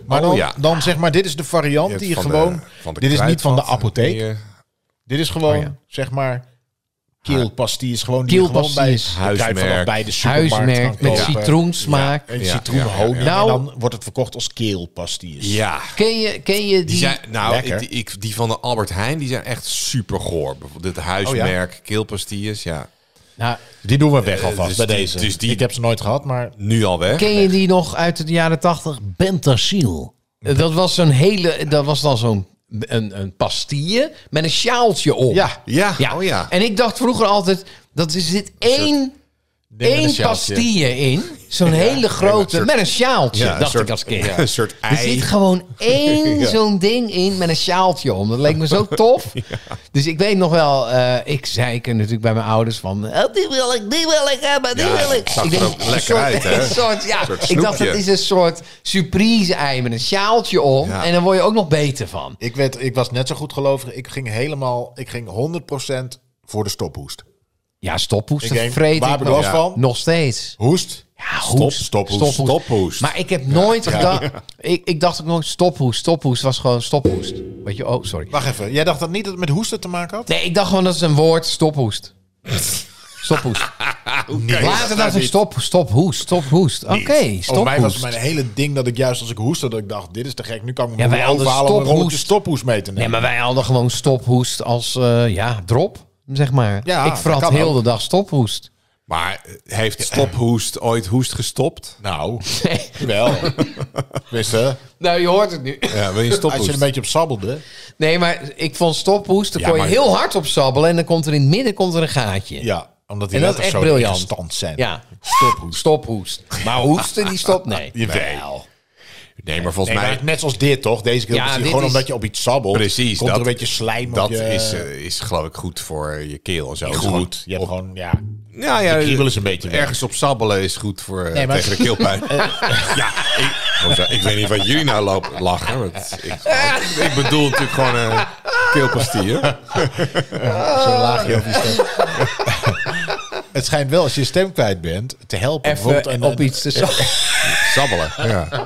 Maar Oh, dan, ja. dan zeg maar, dit is de variant die je Van de- gewoon... van de dit is niet van de kruidvat. apotheek. Die, eh, Dit is gewoon, Oh, ja. zeg maar, kielpastilles. Gewoon die je gewoon bij, Kielpastilles. de kruidvat of Huismerk. bij de supermarkt Huismerk kan met kopen. citroensmaak. En Ja, citroenhoning. ja, ja, ja. En Nou. dan wordt het verkocht als keelpastilles. Ja. Ken je, ken je die? Die zijn, nou, Lekker. ik- ik, die van de Albert Heijn, die zijn echt super goor. Bijvoorbeeld het huismerk, keelpastilles, ja. Nou, Die doen we weg alvast dus bij die- deze. dus die- ik heb ze nooit gehad, maar Nu al weg. ken je die nog uit de jaren tachtig? Bentasiel. Dat was zo'n hele, dat was dan zo'n een, een pastille met een sjaaltje op. ja. Ja, oh ja. En ik dacht vroeger altijd, dat is dit één, met een één sjaaltje. pastille in. Zo'n hele grote, soort- met een sjaaltje, Ja, een dacht soort- ik als kind. Een soort Er ei. zit gewoon één Ja. zo'n ding in met een sjaaltje om. Dat leek me zo tof. Dus ik weet nog wel, eh, ik zei natuurlijk bij mijn ouders van... "Oh, die wil ik, die wil ik hebben, die Ja, wil ik. het zag ik er ook een lekker soort- uit, hè? een soort, ja, soort ik dacht, snoepje. dat is een soort surprise-ei met een sjaaltje om. Ja. En dan word je ook nog beter van. Ik, werd, ik was net zo goed gelovig. Ik ging helemaal, ik ging 100% voor de stophoest. Ja, stophoesten Ik denk, vreet waar ik heb ik last Ja. van? nog steeds. Hoest? Ja, Stop, hoest. stophoest, stophoest. Maar ik heb nooit gedacht... Ik, ik dacht ook nooit stophoest. Stophoest was gewoon stophoest. Weet je, oh, sorry. Wacht even, jij dacht dat niet dat het met hoesten te maken had? Nee, ik dacht gewoon dat is een woord stophoest. Stophoest. Nee, Later dacht ik stop, stophoest, stophoest. Oké, Voor Oh, mij was stophoest. het mijn hele ding dat ik juist als ik hoestte, dat ik dacht, dit is te gek. Nu kan ik me Ja, wij ja, hadden overhalen om een stophoest. rolletje stophoest mee te Nee, nemen. maar wij hadden gewoon stophoest als, eh, ja, drop, zeg maar. Ja, ik vrat dat kan heel ook. de dag stophoest. Maar eh, heeft stophoest ooit hoest gestopt? Nou, Nee. wel. Wist je? Nou, je hoort het nu. Ja, wil je Als je er een beetje op sabbelde. Nee, maar ik vond stophoest, daar Ja, kon je maar- heel hard op sabbelen en dan komt er in het midden komt er een gaatje. Ja, omdat die En dat is letters echt zo briljant. stand zijn. Ja, Stophoest. stophoest. Maar hoesten, die stopt, nee. Jawel. Nee, maar volgens Nee, maar mij, net zoals dit toch? Deze keer Ja, precies. dit gewoon is- omdat je op iets sabbelt. Precies, Komt dat- er een beetje slijm dat op je... is, eh, is geloof ik goed voor je keel en zo. Is goed. Je hebt op- gewoon, ja. Ja, ja, Die kriebel is een beetje weg. Ergens op sabbelen is goed voor eh, Nee, maar- tegen de keelpijn. ja, ik, Oh, zo, ik weet niet wat jullie nou lopen, lachen. want ik, ik bedoel natuurlijk gewoon eh, een keelpastillen. Zo'n laagje over je stem. Het schijnt wel, als je je stem kwijt bent, te helpen. Even op iets te sabbelen. Sabbelen. Ja.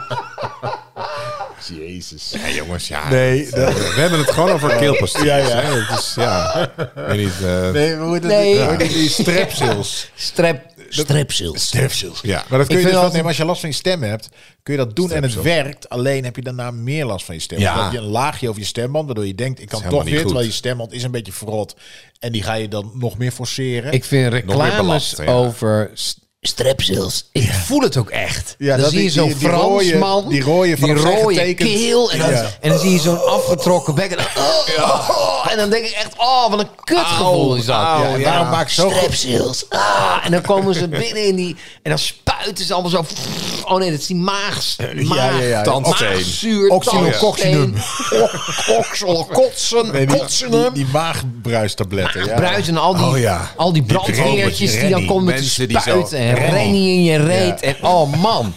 Jezus. Ja, jongens, ja. Eh, Nee, dat- We hebben het gewoon over keelpastilles. Ja, Ja, ja. ja. Het is, ja. Ik weet niet. eh, Nee, we moeten Nee. nee. die strepsils. Strep. Strepsils. Strepsils. Ja. Maar dat kun Ik je dus vind wel dat- nemen als je last van je stem hebt. Kun je dat doen en het Strepsils. werkt. Alleen heb je daarna meer last van je stem. Ja. Omdat je een laagje over je stemband, waardoor je denkt, ik kan helemaal toch niet weer, goed. terwijl je stemband is een beetje verrot. En die ga je dan nog meer forceren. Ik vind reclames belasten, ja. over... s- Strepsils. Ik voel het ook echt. Ja, dan dat zie die- je zo'n die- die Fransman. rode- die rode van die opzij rode getekend. keel. En dan, Ja. en dan zie je zo'n afgetrokken bek. En dan, oh, oh, oh, en dan denk ik echt, oh, wat een kutgevoel is dat. ja, en daarom maak ik zo goed. Strepsils. Ah, en dan komen ze binnen in die... En dan spuiten ze allemaal zo... Oh nee, dat is die maag... maag ja, ja. Tandsteen. Maagzuur. Oxylococcinum. Oxylococcinum. Nee, die, die, Kotsenum. die maagbruistabletten. Ja. Bruis en al die, Oh ja. al die brandweertjes brandweertjes, die dan Rennie. komen met Mensen die die zo- spuit en Rennie. rennie in je reet. Ja. En oh man.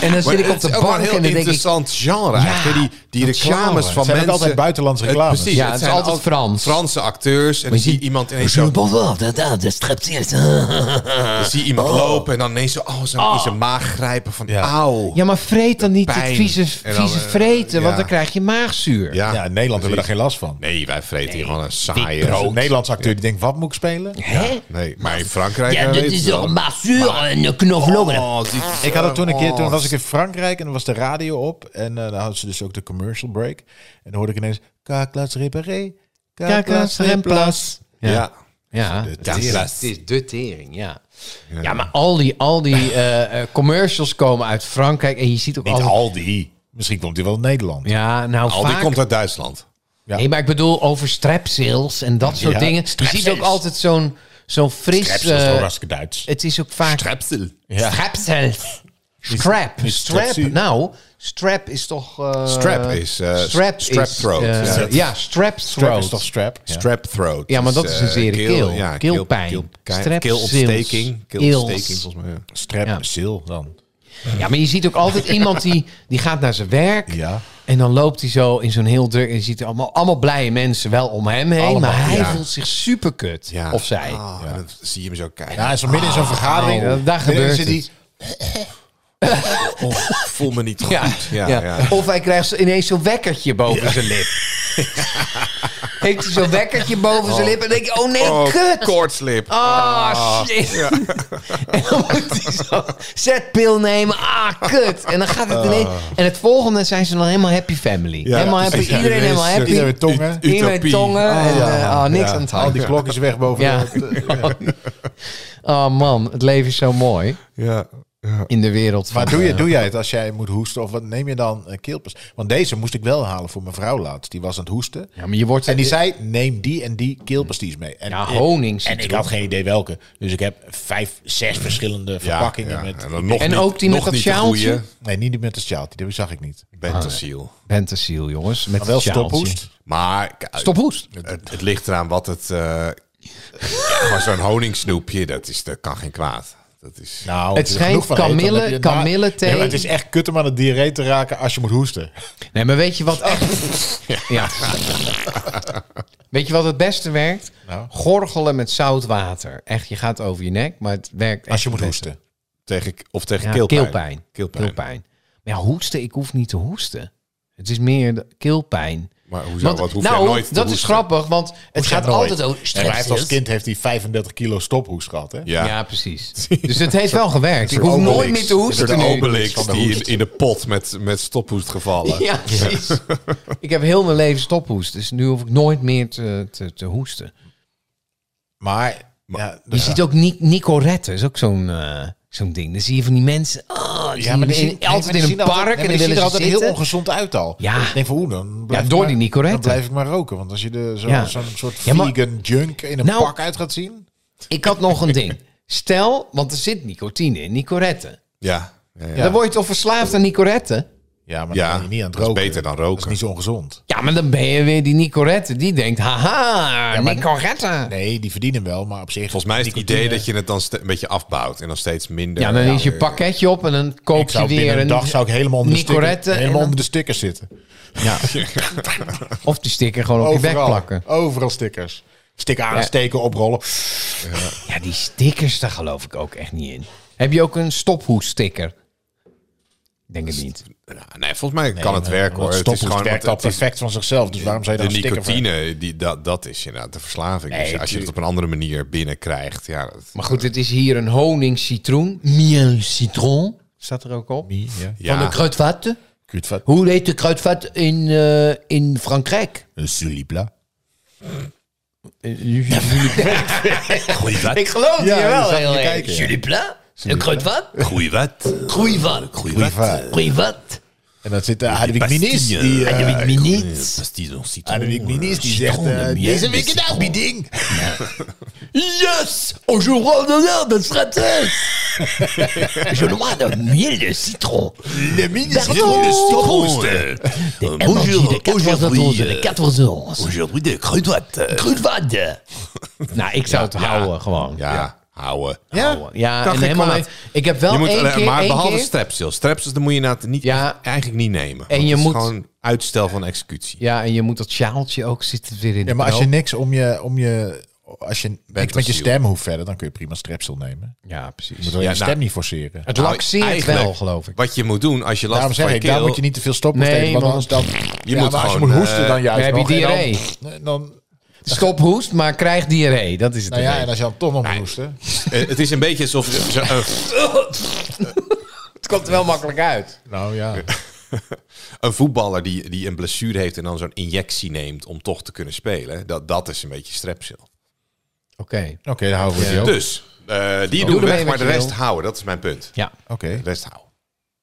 En dan zit ik op het is de ook wel bank en een dan heel denk ik... interessant genre. eigenlijk, hè? Die, die dat reclames van genre. Het zijn Het zijn mensen. ook altijd buitenlandse Het- reclames. precies, Ja, het het is zijn altijd Frans. Franse acteurs. En dan zie je iemand ineens Zo'n zo, bom af. Dat, dat, dat strepsils. dan zie je iemand lopen en dan ineens zo, oh, zo in zijn maag grijpen van, auw. Ja, maar vreet dan niet het Pijn. vieze, En dan, vieze eh, vreten, want ja. dan krijg je maagzuur. Ja, Ja, in Nederland hebben we daar geen last van. Nee, wij vreten hier gewoon een Er is saaie... een Nederlands acteur die denkt, wat moet ik spelen? Hè? Nee, maar in Frankrijk... Ja, eh, dat weet is je wel. toch mazuur en knoflook. Oh, die- Oh, Ik had het toen een keer, Oh. toen was ik in Frankrijk en dan was de radio op. En eh, dan hadden ze dus ook de commercial break. En dan hoorde ik ineens, kaklas reparé, kaklas remplas. Ja. Ja. Ja, de het, is, tering. het is de tering, ja. Ja, maar al die, al die eh, eh, commercials komen uit Frankrijk en je ziet ook Niet Oh. altijd- Aldi. Misschien komt hij wel in Nederland. Ja, nou Al die vaak... komt uit Duitsland. Ja. Nee, maar ik bedoel over strepsils en dat soort Ja, dingen. Je strepsils. ziet ook altijd zo'n zo'n fris... Krebs, dat is eh, toch hartstikke Duits. het is ook vaak... Trepsel. Ja. Strepsils. Strap. niet Strap. strepsie. Nou, strap is toch... eh, Strap is, eh, strap strep is, throat. eh, Strep. ja, strap Strap is throat. toch strap? Ja. Strep throat. Ja, maar dat is een eh, zere keel. ja, Keelpijn. Keel, Strepsils. keelontsteking. Keelontsteking, Eels. volgens mij. ja. Strap, Ja. sil dan. Ja, maar je ziet ook altijd iemand die, die gaat naar zijn werk. Ja. En dan loopt hij zo in zo'n heel druk. En je ziet er allemaal, allemaal blije mensen wel om hem heen. Allemaal, maar hij ja. voelt zich super kut. Ja. Of zij. Ah, en dan zie je hem zo kijken. Ja, hij is zo midden in zo'n vergadering. Ah, nee, daar- daar Midden gebeurt zit het. hij- Oh, ik voel me niet goed. Ja, Ja, Nou ja. ja. Of hij krijgt zo- ineens zo'n wekkertje boven zijn lip. Heeft hij zo'n wekkertje boven zijn lip en denk je, oh nee, Oh, kut. koortslip. Oh. Ah, shit. En dan moet hij zo zetpil nemen. Ah, kut. En dan gaat Oh. het ineens... En het volgende zijn ze dan helemaal happy family. helemaal happy. precies. Iedereen Ja, helemaal iedereen happy. Iedereen is- met tongen. Oh, Utopie. Iedereen met tongen. en, eh, ah, niks Ja, aan het Al die houden. klokjes weg boven. Ja. Oh man, het leven is zo mooi Ja. ja. in de wereld. Van, Maar doe, je, eh, doe jij het als jij moet hoesten? Of wat neem je dan eh, keelpers? Want deze moest ik wel halen voor mijn vrouw laatst. Die was aan het hoesten. Ja, maar je wordt... En die zei, neem die en die keelpasties mee. En, Ja, honing En ik citroen. had geen idee welke. Dus ik heb vijf, zes verschillende verpakkingen. Met, En, dan nog En niet- ook die met nog dat niet de sjaaltje? Ah, goeie. nee, niet die met de sjaalt. Die zag ik niet. Bentasiel. Bentasiel, jongens. Met Maar wel het sjaaltje. stophoest. Maar k- Stophoest. Het, het ligt eraan wat het... eh maar zo'n honingsnoepje, dat, is, dat kan geen kwaad. Dat is... Nou, Het als je er schijnt genoeg van eet, dan kamille- heb je het na- kamille thee. Ja, maar het is echt kut om aan het diarree te raken als je moet hoesten. Nee, maar weet je wat echt... Oh. Ja. Weet je wat het beste werkt? Nou. Gorgelen met zout water. Echt, je gaat over je nek, maar het werkt Als echt je moet het beste. hoesten. tegen, of tegen Ja, keelpijn. keelpijn. Keelpijn. Keelpijn. Maar ja, hoesten, ik hoef niet te hoesten. Het is meer de keelpijn. Maar hoezo, Want- wat hoef nou, jij nooit te dat is hoesten? grappig, want het gaat nooit. altijd over... En hij heeft als Strepsils. kind heeft hij 35 kilo stophoest gehad. Hè? Ja. Ja, precies. Dus het heeft wel gewerkt. Ik Een hoef soort nooit Obelix. meer te hoesten Een soort nu. Obelix Van de die in, hoest. in de pot met, met stophoest gevallen. Ja, precies. ik heb heel mijn leven stophoest, dus nu hoef ik nooit meer te, te, te hoesten. Maar... Ja, Je ziet ook Ni Nicorette, is ook zo'n eh, zo'n ding. Dan zie je van die mensen, ah, die Ja, maar die in- zien, altijd in een park die en zien die willen er ze altijd heel zitten. ongezond uit al. Ja. Ik denk van, hoe dan? blijf Ja, ik door maar- die Nicorette. Dan blijf ik maar roken. Want als je er zo- zo'n Ja. soort Ja, maar- vegan junk in een Nou- pak uit gaat zien. Ik had nog een ding. Stel, want er zit nicotine in Nicorette. Ja. ja, ja. Dan word je toch verslaafd aan Nicorette? Ja, maar Ja, dan ben je niet aan het dat is roken. beter dan Dat roken. is niet zo ongezond. Ja, maar dan ben je weer die Nicorette die denkt, haha, Ja, maar- Nicorette. Nee, die verdienen wel, maar op zich... Volgens mij is het nicotine- idee dat je het dan ste- een beetje afbouwt en dan steeds minder. Ja, dan is je pakketje op en dan Ik koop je zou binnen weer een dag zou ik helemaal onder de sticker, Nicorette en helemaal dan- onder de stickers zitten. Ja. Of die sticker gewoon op je bek Overal, plakken. overal stickers. Stik aansteken, oprollen. Ja, die stickers, daar geloof ik ook echt niet in. Heb je ook een stophoeststicker? Denk het niet. Nou, nee, volgens mij kan het werken hoor. Het Stoppen is gewoon werkt want al het is- perfect van zichzelf. Dus waarom zou je de daar een sticker voor- nicotine, die, dat, dat is inderdaad de verslaving. Nee, dus als je het op een andere manier binnenkrijgt, ja, dat- Maar goed, het is hier een honing-citroen. Miel citron staat er ook op. Ja. ja. Van de kruidvaten. Kuut wat? Hoe heet de kruidvat in, eh, in Frankrijk? Een sulipla. Ik geloof het Ja, hier dat wel zag heel je erg. kijken. Jullie pla? Een kruidvat? Goeie wat. Groeivat. Privaat. Groeivat. En dat zit eh, Hadewig Minis. pastille. Die, eh, Weet ik niet. Pastilles en citroen. Hadewig Minis die zegt... Citroen, eh, de miel, Deze de week in citroen. aanbieding. Yes! Aujourd'hui, on honneur de stratégie. Je noie de miel de citron. Le Minis. Pardon. Eh, euh, euh, En bonjour, de 14 aujourd'hui, onze, euh, de 14 onze. aujourd'hui des crevettes. eh. euh, Kruidvat. Nou, ik zou het houden gewoon. ja, houden. Ja, ja Kan en geen helemaal kwaad. niet. Ik heb wel Je moet, één alleen- keer, maar één behalve keer- strepsils. Strepsils, dan moet je inderdaad niet, Ja. eigenlijk niet nemen. En Want je het is moet- gewoon uitstel van executie. Ja, en je moet dat sjaaltje ook zitten weer in de Ja, maar als je knoop. niks om je... Om je als je niks met je asiel. stem hoeft verder, dan kun je prima strepsel nemen. Ja, Je precies. moet wel je nou, stem niet forceren. Het Nou, laxeert eigenlijk- wel, geloof ik. Wat je moet doen als je Daarom last hebt zeg van je ik, daar keel... moet je niet te veel stoppen. Nee, steken, want want- anders dan, Je Ja, moet maar als je gewoon, moet hoesten, eh, dan juist dan heb je nog. En dan- diarree. Dan, Stop hoest, maar krijg diarree. Dat is het. nou ja, en idee. als je dan toch nog moet hoesten. eh, het is een beetje alsof... je- zo- eh, Het komt er wel makkelijk uit. Nou ja. een voetballer die, die een blessure heeft en dan zo'n injectie neemt om toch te kunnen spelen. Dat, dat is een beetje strepsil. Oké. Oké, dan houden we die ook. Dus, eh, die doen Doe we ermee weg, maar wat de je rest wil. houden. Dat is mijn punt. Ja, Oké, De rest houden.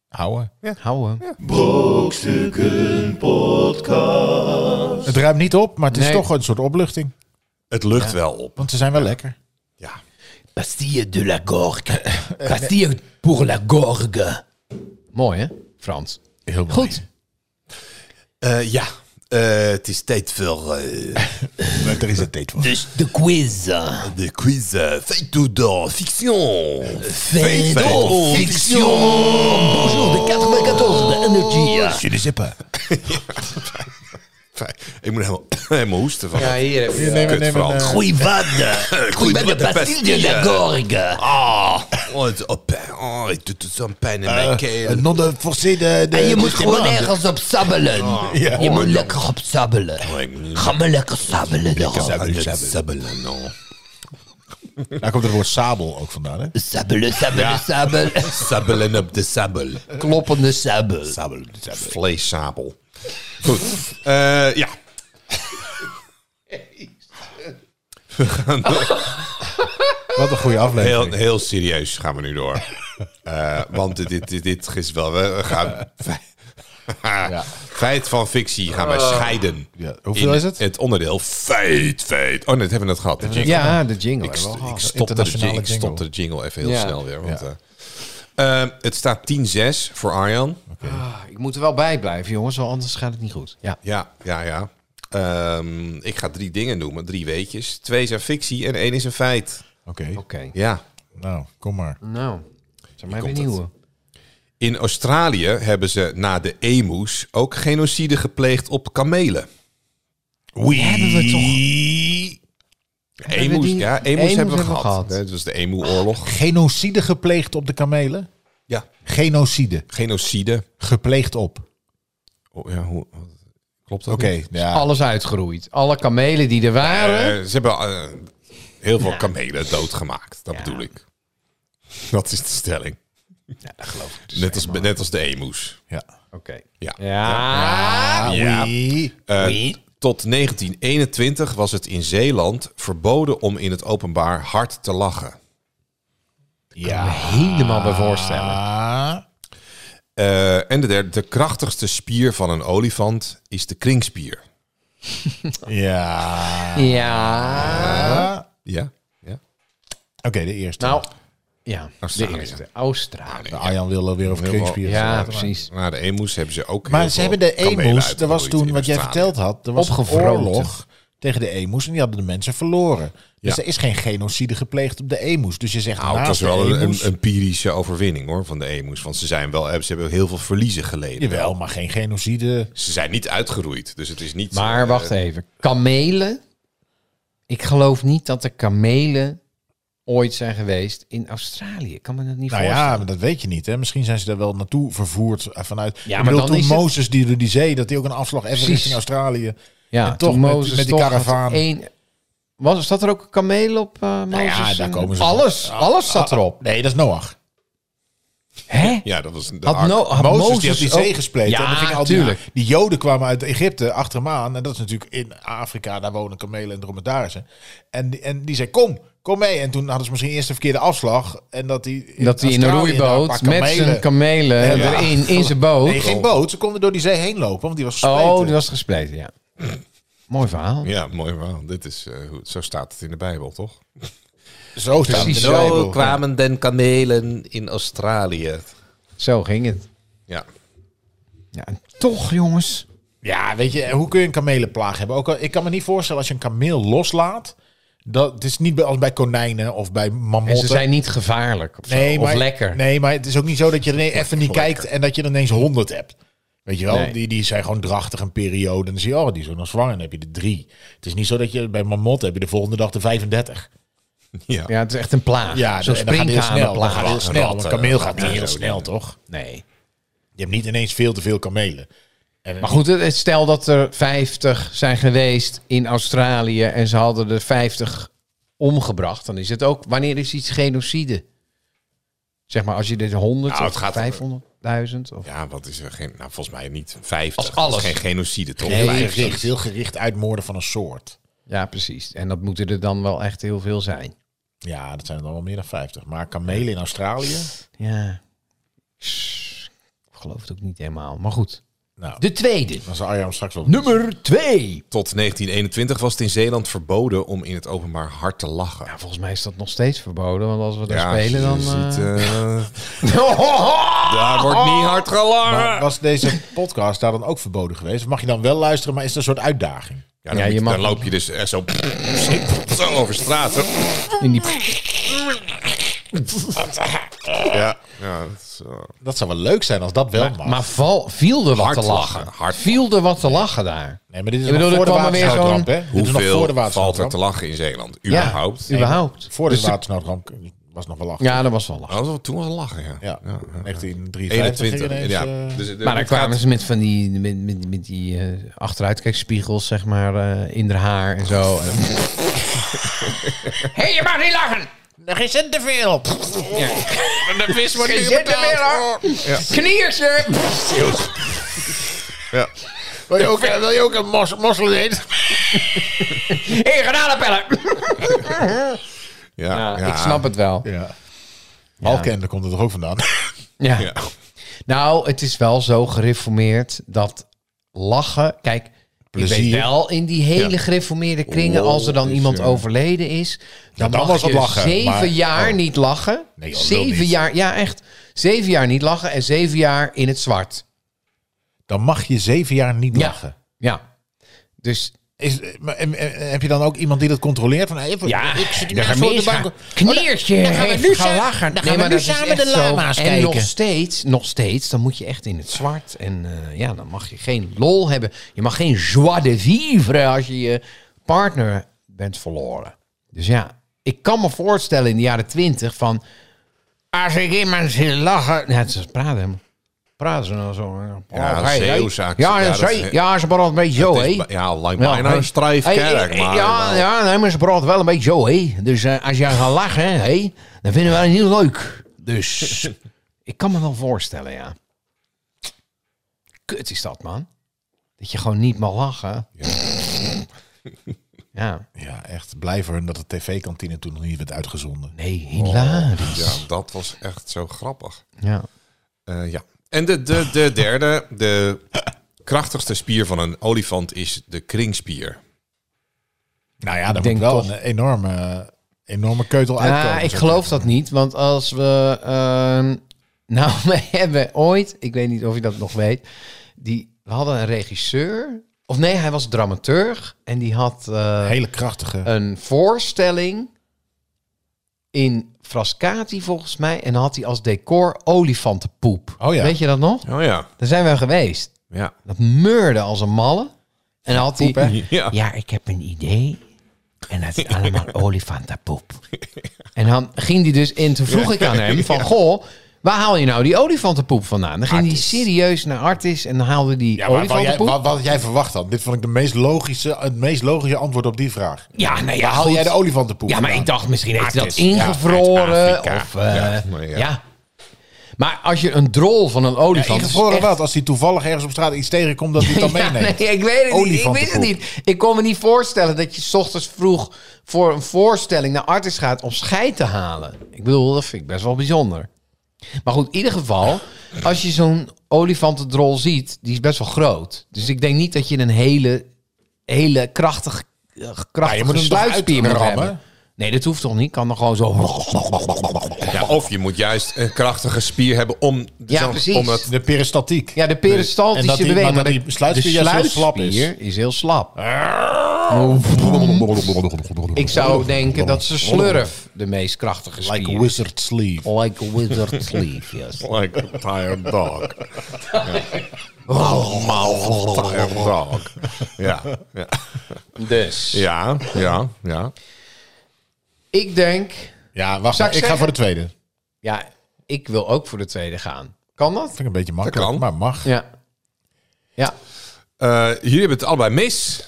houden. houden. Brokstukken Podcast. Het ruimt niet op, maar het is Nee. toch een soort opluchting. Het lucht wel op. Want ze zijn wel lekker. Ja. Pastille de la gorge. Pastille pour la gorge. Mooi, hè? Frans. Heel Goed. Eh, ja. Eh, het is tijd voor eh, Er is het tijd voor. Dus de quiz. de quiz eh, Feit ou dans Fiction. Feit ou of fiction. Bonjour de 94 de energy. Jullie zippen. Fijn. Ik moet helemaal, helemaal hoesten van Ja, ja, hier heb je. Neem, kut neem Frans. een, eh, Groeivat. Groeivat de pastille de la gorge. Ah, oh, het is op pijn. Oh, ik doe zo'n pijn in mijn keel. een eh, non-forcé de, Ah, de... En je moet de- gewoon ergens op sabbelen. Je moet lekker op sabbelen. ik moet- Oh, Ga maar lekker sabbelen erop. Sabbelen, sabbelen, no. Daar Nou, komt het woord sabel ook vandaan, hè? Sabbelen, sabbelen, sabbelen. Sabbelen op de sabbel. Kloppende sabbel. Sabbel, Vleessabel. Goed. Eh, ja. We gaan Wat een goede aflevering. heel, heel serieus gaan we nu door. Eh, want dit, dit, dit, dit is wel... We gaan... Feit van fictie gaan wij scheiden. Eh, Ja, hoeveel in is het? Het onderdeel feit, feit. Oh, net hebben we dat gehad. de jingle. Ja, de jingle. Ik, Oh, hebben we st- al ik gehad. stopte de Internationale jingle, ik jingle. stopte de jingle even heel Ja. snel weer. Want, Ja. eh, eh, het staat 10-6 voor Arjan. Ah, ik moet er wel bij blijven, jongens, want anders gaat het niet goed. Ja. Ja, ja, ja. Ehm, ik ga drie dingen noemen, drie weetjes. Twee zijn fictie en één is een feit. Oké, Oké. Ja. nou, kom maar. Nou, zijn mij weer komt nieuwe. In Australië hebben ze na de emoes ook genocide gepleegd op kamelen. Die hebben we toch... Hebben we Emoes, die- ja, emoes, emoes hebben we hebben we gehad. gehad. Nee, Het was de emu-oorlog. Genocide gepleegd op de kamelen? Ja, Genocide. genocide. Gepleegd op. Oké, Oh, ja, hoe, wat- klopt dat? niet? ja. Alles uitgeroeid. Alle kamelen die er waren. Eh, ze hebben eh, heel veel kamelen doodgemaakt. Dat bedoel ik. Dat is de stelling. net, als, net als de emoes. ja. Dus- Oké. Ja. Ja. Ah, Ja. oui. Eh, tot 1921 was het in Zeeland verboden om in het openbaar hard te lachen. Ja. Helemaal bij voorstellen. Ah. Eh, en de derde, de krachtigste spier van een olifant is de kringspier. Ja. Ja. Ja. ja. Oké, de eerste. Nou, ja. Australië. De eerste. Ah, Australië. De Arjan wil alweer over kringspieren. Ja, precies. Na Nou, de emoes hebben ze ook. Maar heel ze veel hebben de kamelen emoes, er was uitgeroeid toen, in wat jij Australië. verteld had, er was een Opgevroten. oorlog tegen de emoes en die hadden de mensen verloren. Dus Ja. er is geen genocide gepleegd op de emoes. Dus je zegt, Nou, het naast was de wel een, een emoes, empirische overwinning hoor, van de emoes. Want ze, zijn wel, ze hebben heel veel verliezen geleden. Jawel, maar geen genocide. Ze zijn niet uitgeroeid, dus het is niet... Maar eh, wacht even. Kamelen? Ik geloof niet dat de kamelen ooit zijn geweest in Australië. Ik kan me dat niet Nou ja, voorstellen. maar dat weet je niet. Hè? Misschien zijn ze daar wel naartoe vervoerd eh, vanuit. Ja, ik maar bedoel, dan toen is het- Mozes die door die zee, dat hij ook een afslag even Precies. richting Australië. Ja, en toch toen met- Mozes met die toch karavaan. had één- was, zat er ook een kameel op eh Mozes? Nou ja, daar En- komen ze Alles, van. alles zat Ah, ah, erop. Nee, dat is Noach. Hè? Ja, dat was de Had, ark. no, had Mozes, Mozes, die had die zee Ah, ook- gespleten. en Ja, dan gingen al die, tuurlijk. die joden kwamen uit Egypte achter hem aan. En dat is natuurlijk in Afrika, daar wonen kamelen en dromedarissen. En, die- en die zei, kom, kom mee. En toen hadden ze misschien eerst de verkeerde afslag. En dat hij Dat hij in een Australië daar roeiboot een paar met zijn Nee, kamelen ja. erin, in zijn boot. Nee, geen boot. Ze konden door die zee heen lopen, want die was gespleten. oh, die was gespleten, ja. Mooi verhaal. Ja, mooi verhaal. Dit is, eh, hoe- zo staat het in de Bijbel, toch? Zo staat het in de Zo Bijbel. den kamelen in Australië. Zo ging het. Ja, Ja, en toch, jongens. Ja, weet je, hoe kun je een kamelenplaag hebben? Ook al, ik kan me niet voorstellen als je een kameel loslaat. Dat, het is niet bij- als bij konijnen of bij En ze mammotten. zijn niet gevaarlijk of, zo, of lekker. Nee, maar het is ook niet zo dat je er even niet kijkt en dat je er ineens 100 hebt. Weet je wel, Nee. die, die zijn gewoon drachtig een periode. En dan zie je, oh, die is nog zwanger. En dan heb je er drie. Het is niet zo dat je bij mammotten heb je de volgende dag de 35. ja. Ja, het is echt een plaag. Ja, Zo'n en dan gaat het heel snel. Dan gaat het heel springhanenplaag. snel. want Een kameel eh, gaat niet heel ratten, snel, toch? Nee. Je hebt niet ineens veel te veel kamelen. En, Maar goed, het- stel dat er 50 zijn geweest in Australië en ze hadden er 50 omgebracht. Dan is het ook, wanneer is iets genocide? Zeg maar, als je dit 100 Nou, het of gaat- 500.000 of... Ja, wat is er geen... Nou, volgens mij niet 50. Als alles. Dat is geen genocide, toch? eh, heel, 50. gericht, heel gericht uitmoorden van een soort. Ja, precies. En dat moeten er dan wel echt heel veel zijn. Ja, dat zijn er dan wel meer dan 50. Maar kamelen in Australië? Ja. Ik geloof het ook niet helemaal, maar goed. Nou, De tweede. dan zal Arjan straks wel... Nummer twee. Tot 1921 was het in Zeeland verboden om in het openbaar hard te lachen. Ja, volgens mij is dat nog steeds verboden, want als we daar Ja, spelen je dan... ziet, eh, Oh, eh, daar wordt niet hard gelachen. Maar was deze podcast daar dan ook verboden geweest? Of mag je dan wel luisteren, maar is het een soort uitdaging? Ja, dan, Ja, moet- je mag- dan loop je dus eh, zo, zo over straat. zo. in die... Ja, ja dat is, eh, Dat zou wel leuk zijn als dat wel mag. Maar val, viel er wat Hard te lachen. lachen, hard viel er wat te lachen daar. nee, maar dit is Ik nog bedoel, voor er de kwam er weer watersnoodramp, zo'n- hè? Dit is nog voor de hoeveel valt er watersnoodramp. te lachen in Zeeland? Ja, Überhaupt? Ja, überhaupt. Voor de Dus- watersnoodramp was nog wel lachen. Ja, dat was wel lachen. Oh, toen was het lachen, ja. Ja, 1953 21, ineens, ja. eh, Dus, eh, Maar dan het gaat- kwamen ze met van die, met, met, met die eh, achteruitkijkspiegels, zeg maar, eh, in haar haar en zo. En- Hé, je mag niet lachen! Er is het te veel. Je zit er weer aan! Kniersen! Ja. Wil je ook, wil je ook een mos, mossel eten? In granalenpellen! Ja, Ja, ja. ik snap het wel. Ja. Malkende komt er toch ook vandaan? Ja. Ja. Nou, het is wel zo gereformeerd dat lachen. Kijk, ik Plezier. Oh, weet wel in die hele gereformeerde kringen, als er dan is, iemand ja. overleden is, dan, dan mag was het je lachen, zeven maar- jaar oh. niet lachen. Nee, joh, lul zeven niet. jaar, ja echt. Zeven jaar niet lachen en zeven jaar in het zwart. Dan mag je zeven jaar niet Ja. lachen. Ja. Dus Is, maar, en- en- en heb je dan ook iemand die dat controleert? Van, hey, ja, ik zit hier de naast zo op de bank. gemeenschap. Kneertje dan gaan we heeft nu gaan sa- lachen. dan gaan we maar nu dat is samen de echt zo. lama's en kijken. nog steeds, nog steeds, dan moet je echt in het zwart. En eh, ja, dan mag je geen lol hebben. Je mag geen joie de vivre als je je partner bent verloren. Dus ja, ik kan me voorstellen in de jaren twintig van... Als ik iemand zie lachen... Nou, ze praten helemaal. Praten ze nou zo. Ja, Oh, dat is hey, hey. Zeeuwzaak. Ja, Ja, dat dat is- is- ja, ze praten een beetje zo, Het is Oh, hé. ba- Ja, lijkt mij nou hey. een strijf Hey, kerk, eh, maar... ja, ja nee, maar ze praten wel een beetje zo, hé. Dus eh, als jij gaat lachen, hé, dan vinden we het niet leuk. Dus ik kan me wel voorstellen, ja. Kut is dat, man. Dat je gewoon niet mag lachen. Ja. Ja, echt. Blij voor hun dat de tv-kantine toen nog niet werd uitgezonden. Nee, hilarisch. Ja, dat was echt zo grappig. Ja. Eh, ja. En de, de, de derde, de krachtigste spier van een olifant is de kringspier. Nou ja, daar denk moet wel toch- een enorme, enorme keutel uitkomen. Ja, ik zeg geloof maar. dat niet, want als we... ehm, nou, we hebben ooit, ik weet niet of je dat nog weet, die, we hadden een regisseur, of nee, hij was dramaturg en die had... eh, Hele krachtige. een voorstelling in Frascati volgens mij. En dan had hij als decor olifantenpoep. Oh ja. Weet je dat nog? Oh ja. Daar zijn we geweest. Ja. Dat meurde als een malle. En dan had hij... Ja. Ja, ik heb een idee. en dat is allemaal olifantenpoep. En dan ging die dus in, toen vroeg ik aan hem van, goh, waar haal je nou die olifantenpoep vandaan? Dan ging hij serieus naar Artis en dan haalde die Ja, maar wat jij, olifantenpoep. wat, wat jij verwacht had. Dit vond ik de meest logische, het meest logische antwoord op die vraag. ja, nee, ja, Waar haal goed. jij de olifantenpoep Ja, maar vandaan? ik dacht misschien heeft hij dat Artis, ja, ingevroren. uit Afrika. of, eh, Ja, ja, maar maar ja. als je een drol van een Ja, olifant... is ingevroren echt- wat? Als hij toevallig ergens op straat iets tegenkomt dat hij het dan Ja, meeneemt. nee, ik weet het niet. Ik weet het Olifantenpoep. niet. Ik kon me niet voorstellen dat je 's ochtends vroeg voor een voorstelling naar Artis gaat om scheid te halen. Ik bedoel, dat vind ik best wel bijzonder. Maar goed, in ieder geval, als je zo'n olifantendrol ziet, die is best wel groot. Dus ik denk niet dat je een hele, hele krachtig, eh, krachtige je moet hem toch sluitspier moet uitrammen? hebben. Nee, dat hoeft toch niet? Kan dan gewoon zo... Ja, of je moet juist een krachtige spier hebben om, Ja, zo- precies. om het De peristaltiek. Ja, de peristaltische En dat die- beweging. maar dat maar de- die sluitspier de juist heel slap is. sluitspier is heel slap. Ik zou denken dat ze slurf de meest krachtige spier Like a is. wizard sleeve. Like a wizard sleeve, yes. like a tired dog. Tired dog. Ja, ja, Dus, ja, ja. ja. ik denk... Ja, wacht Zou maar. ik Ik ga zeggen? voor de tweede. Vind Ja, ik wil ook voor de tweede gaan. Kan dat? ik een beetje makkelijk, kan. maar mag. Ja. Ja. Eh, jullie hebben het allebei mis.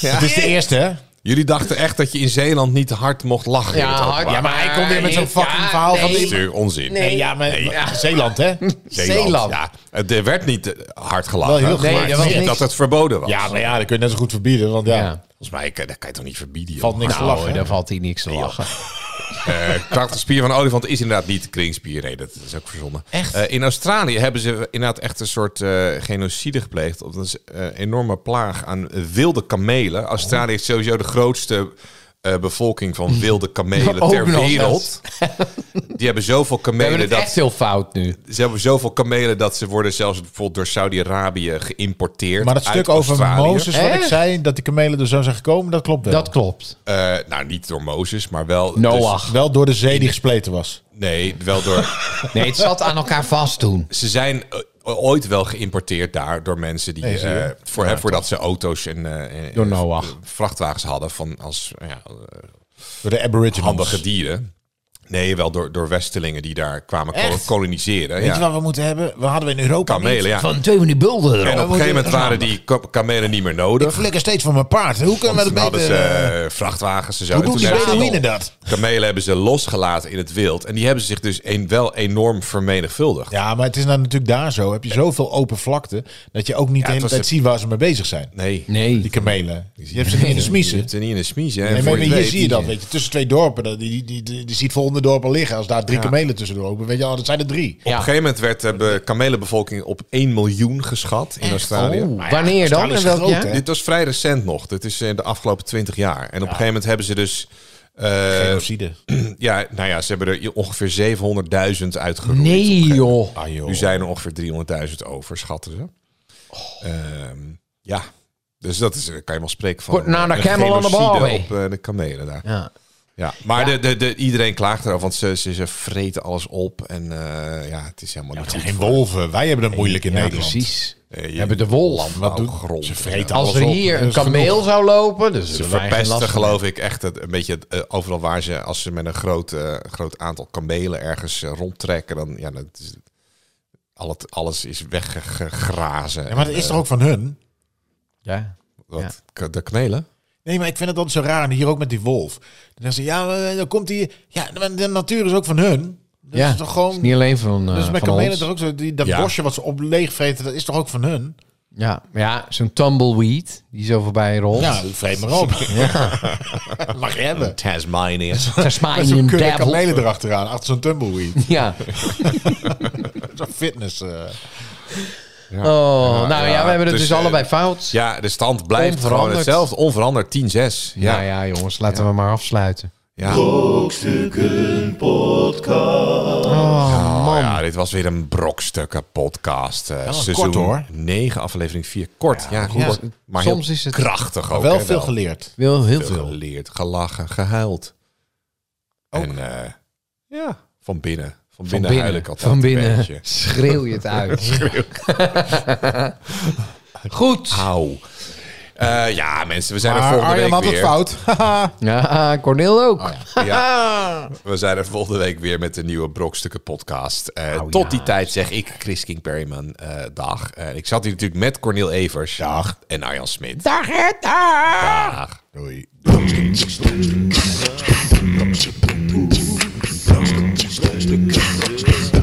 Het is de eerste, hè? Jullie dachten echt dat je in Zeeland niet hard mocht lachen. in het openbaar. hard, maar hij komt weer met zo'n fucking ja, verhaal van Dat is nee. natuurlijk onzin. Nee. Ja, maar Zeeland, hè? Zeeland. Ja, het- er werd niet eh, hard gelachen. Wel heel maar Nee, dat was niet niks. dat het verboden was. Ja, maar ja, dat kun je net zo goed verbieden, want ja, Ja. Volgens mij kan, dat kan je toch niet verbieden. valt niks te Nou, lachen. hè? daar valt hij niks te lachen. Eh, krachtige spier van een olifant is inderdaad niet de kringspier. Nee, dat is ook verzonnen. Echt? in Australië hebben ze inderdaad echt een soort eh, genocide gepleegd. Of Dat is eh, een enorme plaag aan wilde kamelen. Australië heeft sowieso de grootste eh, bevolking van wilde kamelen Ook ter nog eens. wereld. Die hebben zoveel We kamelen hebben het dat echt heel fout nu. ze hebben zoveel kamelen dat ze worden zelfs bijvoorbeeld door Saudi-Arabië geïmporteerd. Maar dat uit stuk over Australië. Mozes, wat Echt? ik zei, dat die kamelen er zo zijn gekomen, dat klopt wel. Dat klopt. Eh, nou, niet door Mozes, maar wel. Noach. Wel door de zee die gespleten was. dus- nee, wel door. Nee, het zat aan elkaar vast toen. ze zijn eh, ooit wel geïmporteerd daar door mensen die Nee, zie je. eh, voor, hè, voordat ze auto's en, eh, en- Door en Noach. vrachtwagens hadden van als ja, eh, Door de aboriginals. handige dieren. Nee, wel door, door westelingen die daar kwamen kol- koloniseren. Weet Ja. je wat we moeten hebben? We hadden we in Europa Kamelen, ja. Van twee van die bulden En erop. op een gegeven moment waren die ka- kamelen niet meer niet. Ik nodig. flikker steeds van mijn paard. Hoe Want kunnen we toen dat hadden beter... ze eh, eh, vrachtwagens en zo. Hoe En doen die toen hebben ze- Bedouinen dat? Kamelen hebben ze losgelaten in het wild. En die hebben zich dus een, wel enorm vermenigvuldigd. Ja, maar het is nou natuurlijk daar zo. Heb je zoveel open vlakte, dat je ook niet de hele was tijd de- ziet waar ze mee bezig zijn. Nee. Die Nee. kamelen. Je hebt ze niet in de Ze smiezen. zitten niet in een smies. Hè? En Nee, voor maar je hier weet- zie je dat, weet je. Tussen twee dorpen, dat- die, die, die, die ziet vol onderdorpen liggen. Als daar drie kamelen tussendoor lopen, weet je, oh, dat zijn er drie. Op Ja. een gegeven moment werd de be- kamelenbevolking op 1 miljoen geschat in Australië. Oh. Wanneer Australië dan? En is welk groot, jaar? hè? Dit was vrij recent nog. Dit is in de afgelopen 20 jaar. En op een gegeven moment hebben ze dus... eh, Genocide. ja, nou ja, ze hebben er ongeveer 700.000 uitgeroeid. Nee, joh. Ah, joh. Oh. Nu zijn er ongeveer 300.000 over, schatten ze. Ehm, ja, dus dat is, kan je wel spreken van... Put nou, another een camel on the genocide barbie. op eh, de kamelen daar. Ja. Ja, maar Ja. De, de, de, iedereen klaagt erover, want ze, ze, ze vreten alles op. En eh, ja, het is helemaal Het niet zijn goed. geen wolven. Wij hebben het moeilijk in Ja, Nederland. precies. Eh, je- Hebben de wolf. Wat doen grond. Ze vreten Als alles er op. hier Dat een is genoeg. kameel zou lopen, dus Ze verpesten geloof ik echt het, een beetje het, eh, overal waar ze, als ze met een groot, eh, groot aantal kamelen ergens eh, rondtrekken, dan ja, dat is, al het, alles is weggegrazen. eh, Ja, maar dat is toch ook van hun? Ja. Wat, K- De kamelen? Nee, maar ik vind het altijd zo raar. En hier ook met die wolf. Dan zeggen ze, ja, eh, dan komt die... Ja, maar de natuur is ook van hun. Dat ja. is toch gewoon... is niet alleen van, eh dus met van kamelen ons. toch ook zo. Die, dat Ja. bosje wat ze op leegvreten, dat is toch ook van hun? Ja, maar ja zo'n tumbleweed die zo voorbij rolt. Ja, vreet maar op. Mag je hebben. Tasmania. Met zo'n Tasmanian kudde devil. kamelen erachteraan. Achter zo'n tumbleweed. Ja. Zo'n fitness... eh. Oh, nou ja, ja, we hebben het dus, dus, eh, allebei fout. Ja, Ja, de stand blijft gewoon Onveranderd. Nou hetzelfde. Onveranderd 10-6. Ja, ja. jongens, laten we maar afsluiten. ja. Brokstukken Podcast. Oh, ja, dit was weer een brokstukken podcast. eh, een seizoen kort, hoor. 9, aflevering 4. Kort, ja. kort, ja. Maar Soms heel is het- krachtig ook. wel hè, veel geleerd. Wil heel Veel veel. geleerd, gelachen, gehuild. En eh, ja, van binnen. Van binnen, huil ik altijd van een binnen beetje. Ah. schreeuw je het uit. Goed. Auw. Eh, ja, mensen, we zijn er Maar volgende Arjan week had weer. het fout. Ja, Cornel ook. Oh Ja, we zijn er volgende week weer met de nieuwe Brokstukken podcast. Eh, tot die tijd zeg ik Chris King Perryman eh, dag. Eh, ik zat hier natuurlijk met Cornel Evers dag. en Arjan Smit. Dag, dag. dag. Doei.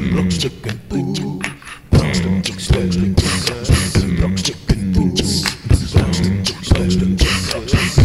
Brokstukken poes. Brokstukken poes. Brokstukken poes.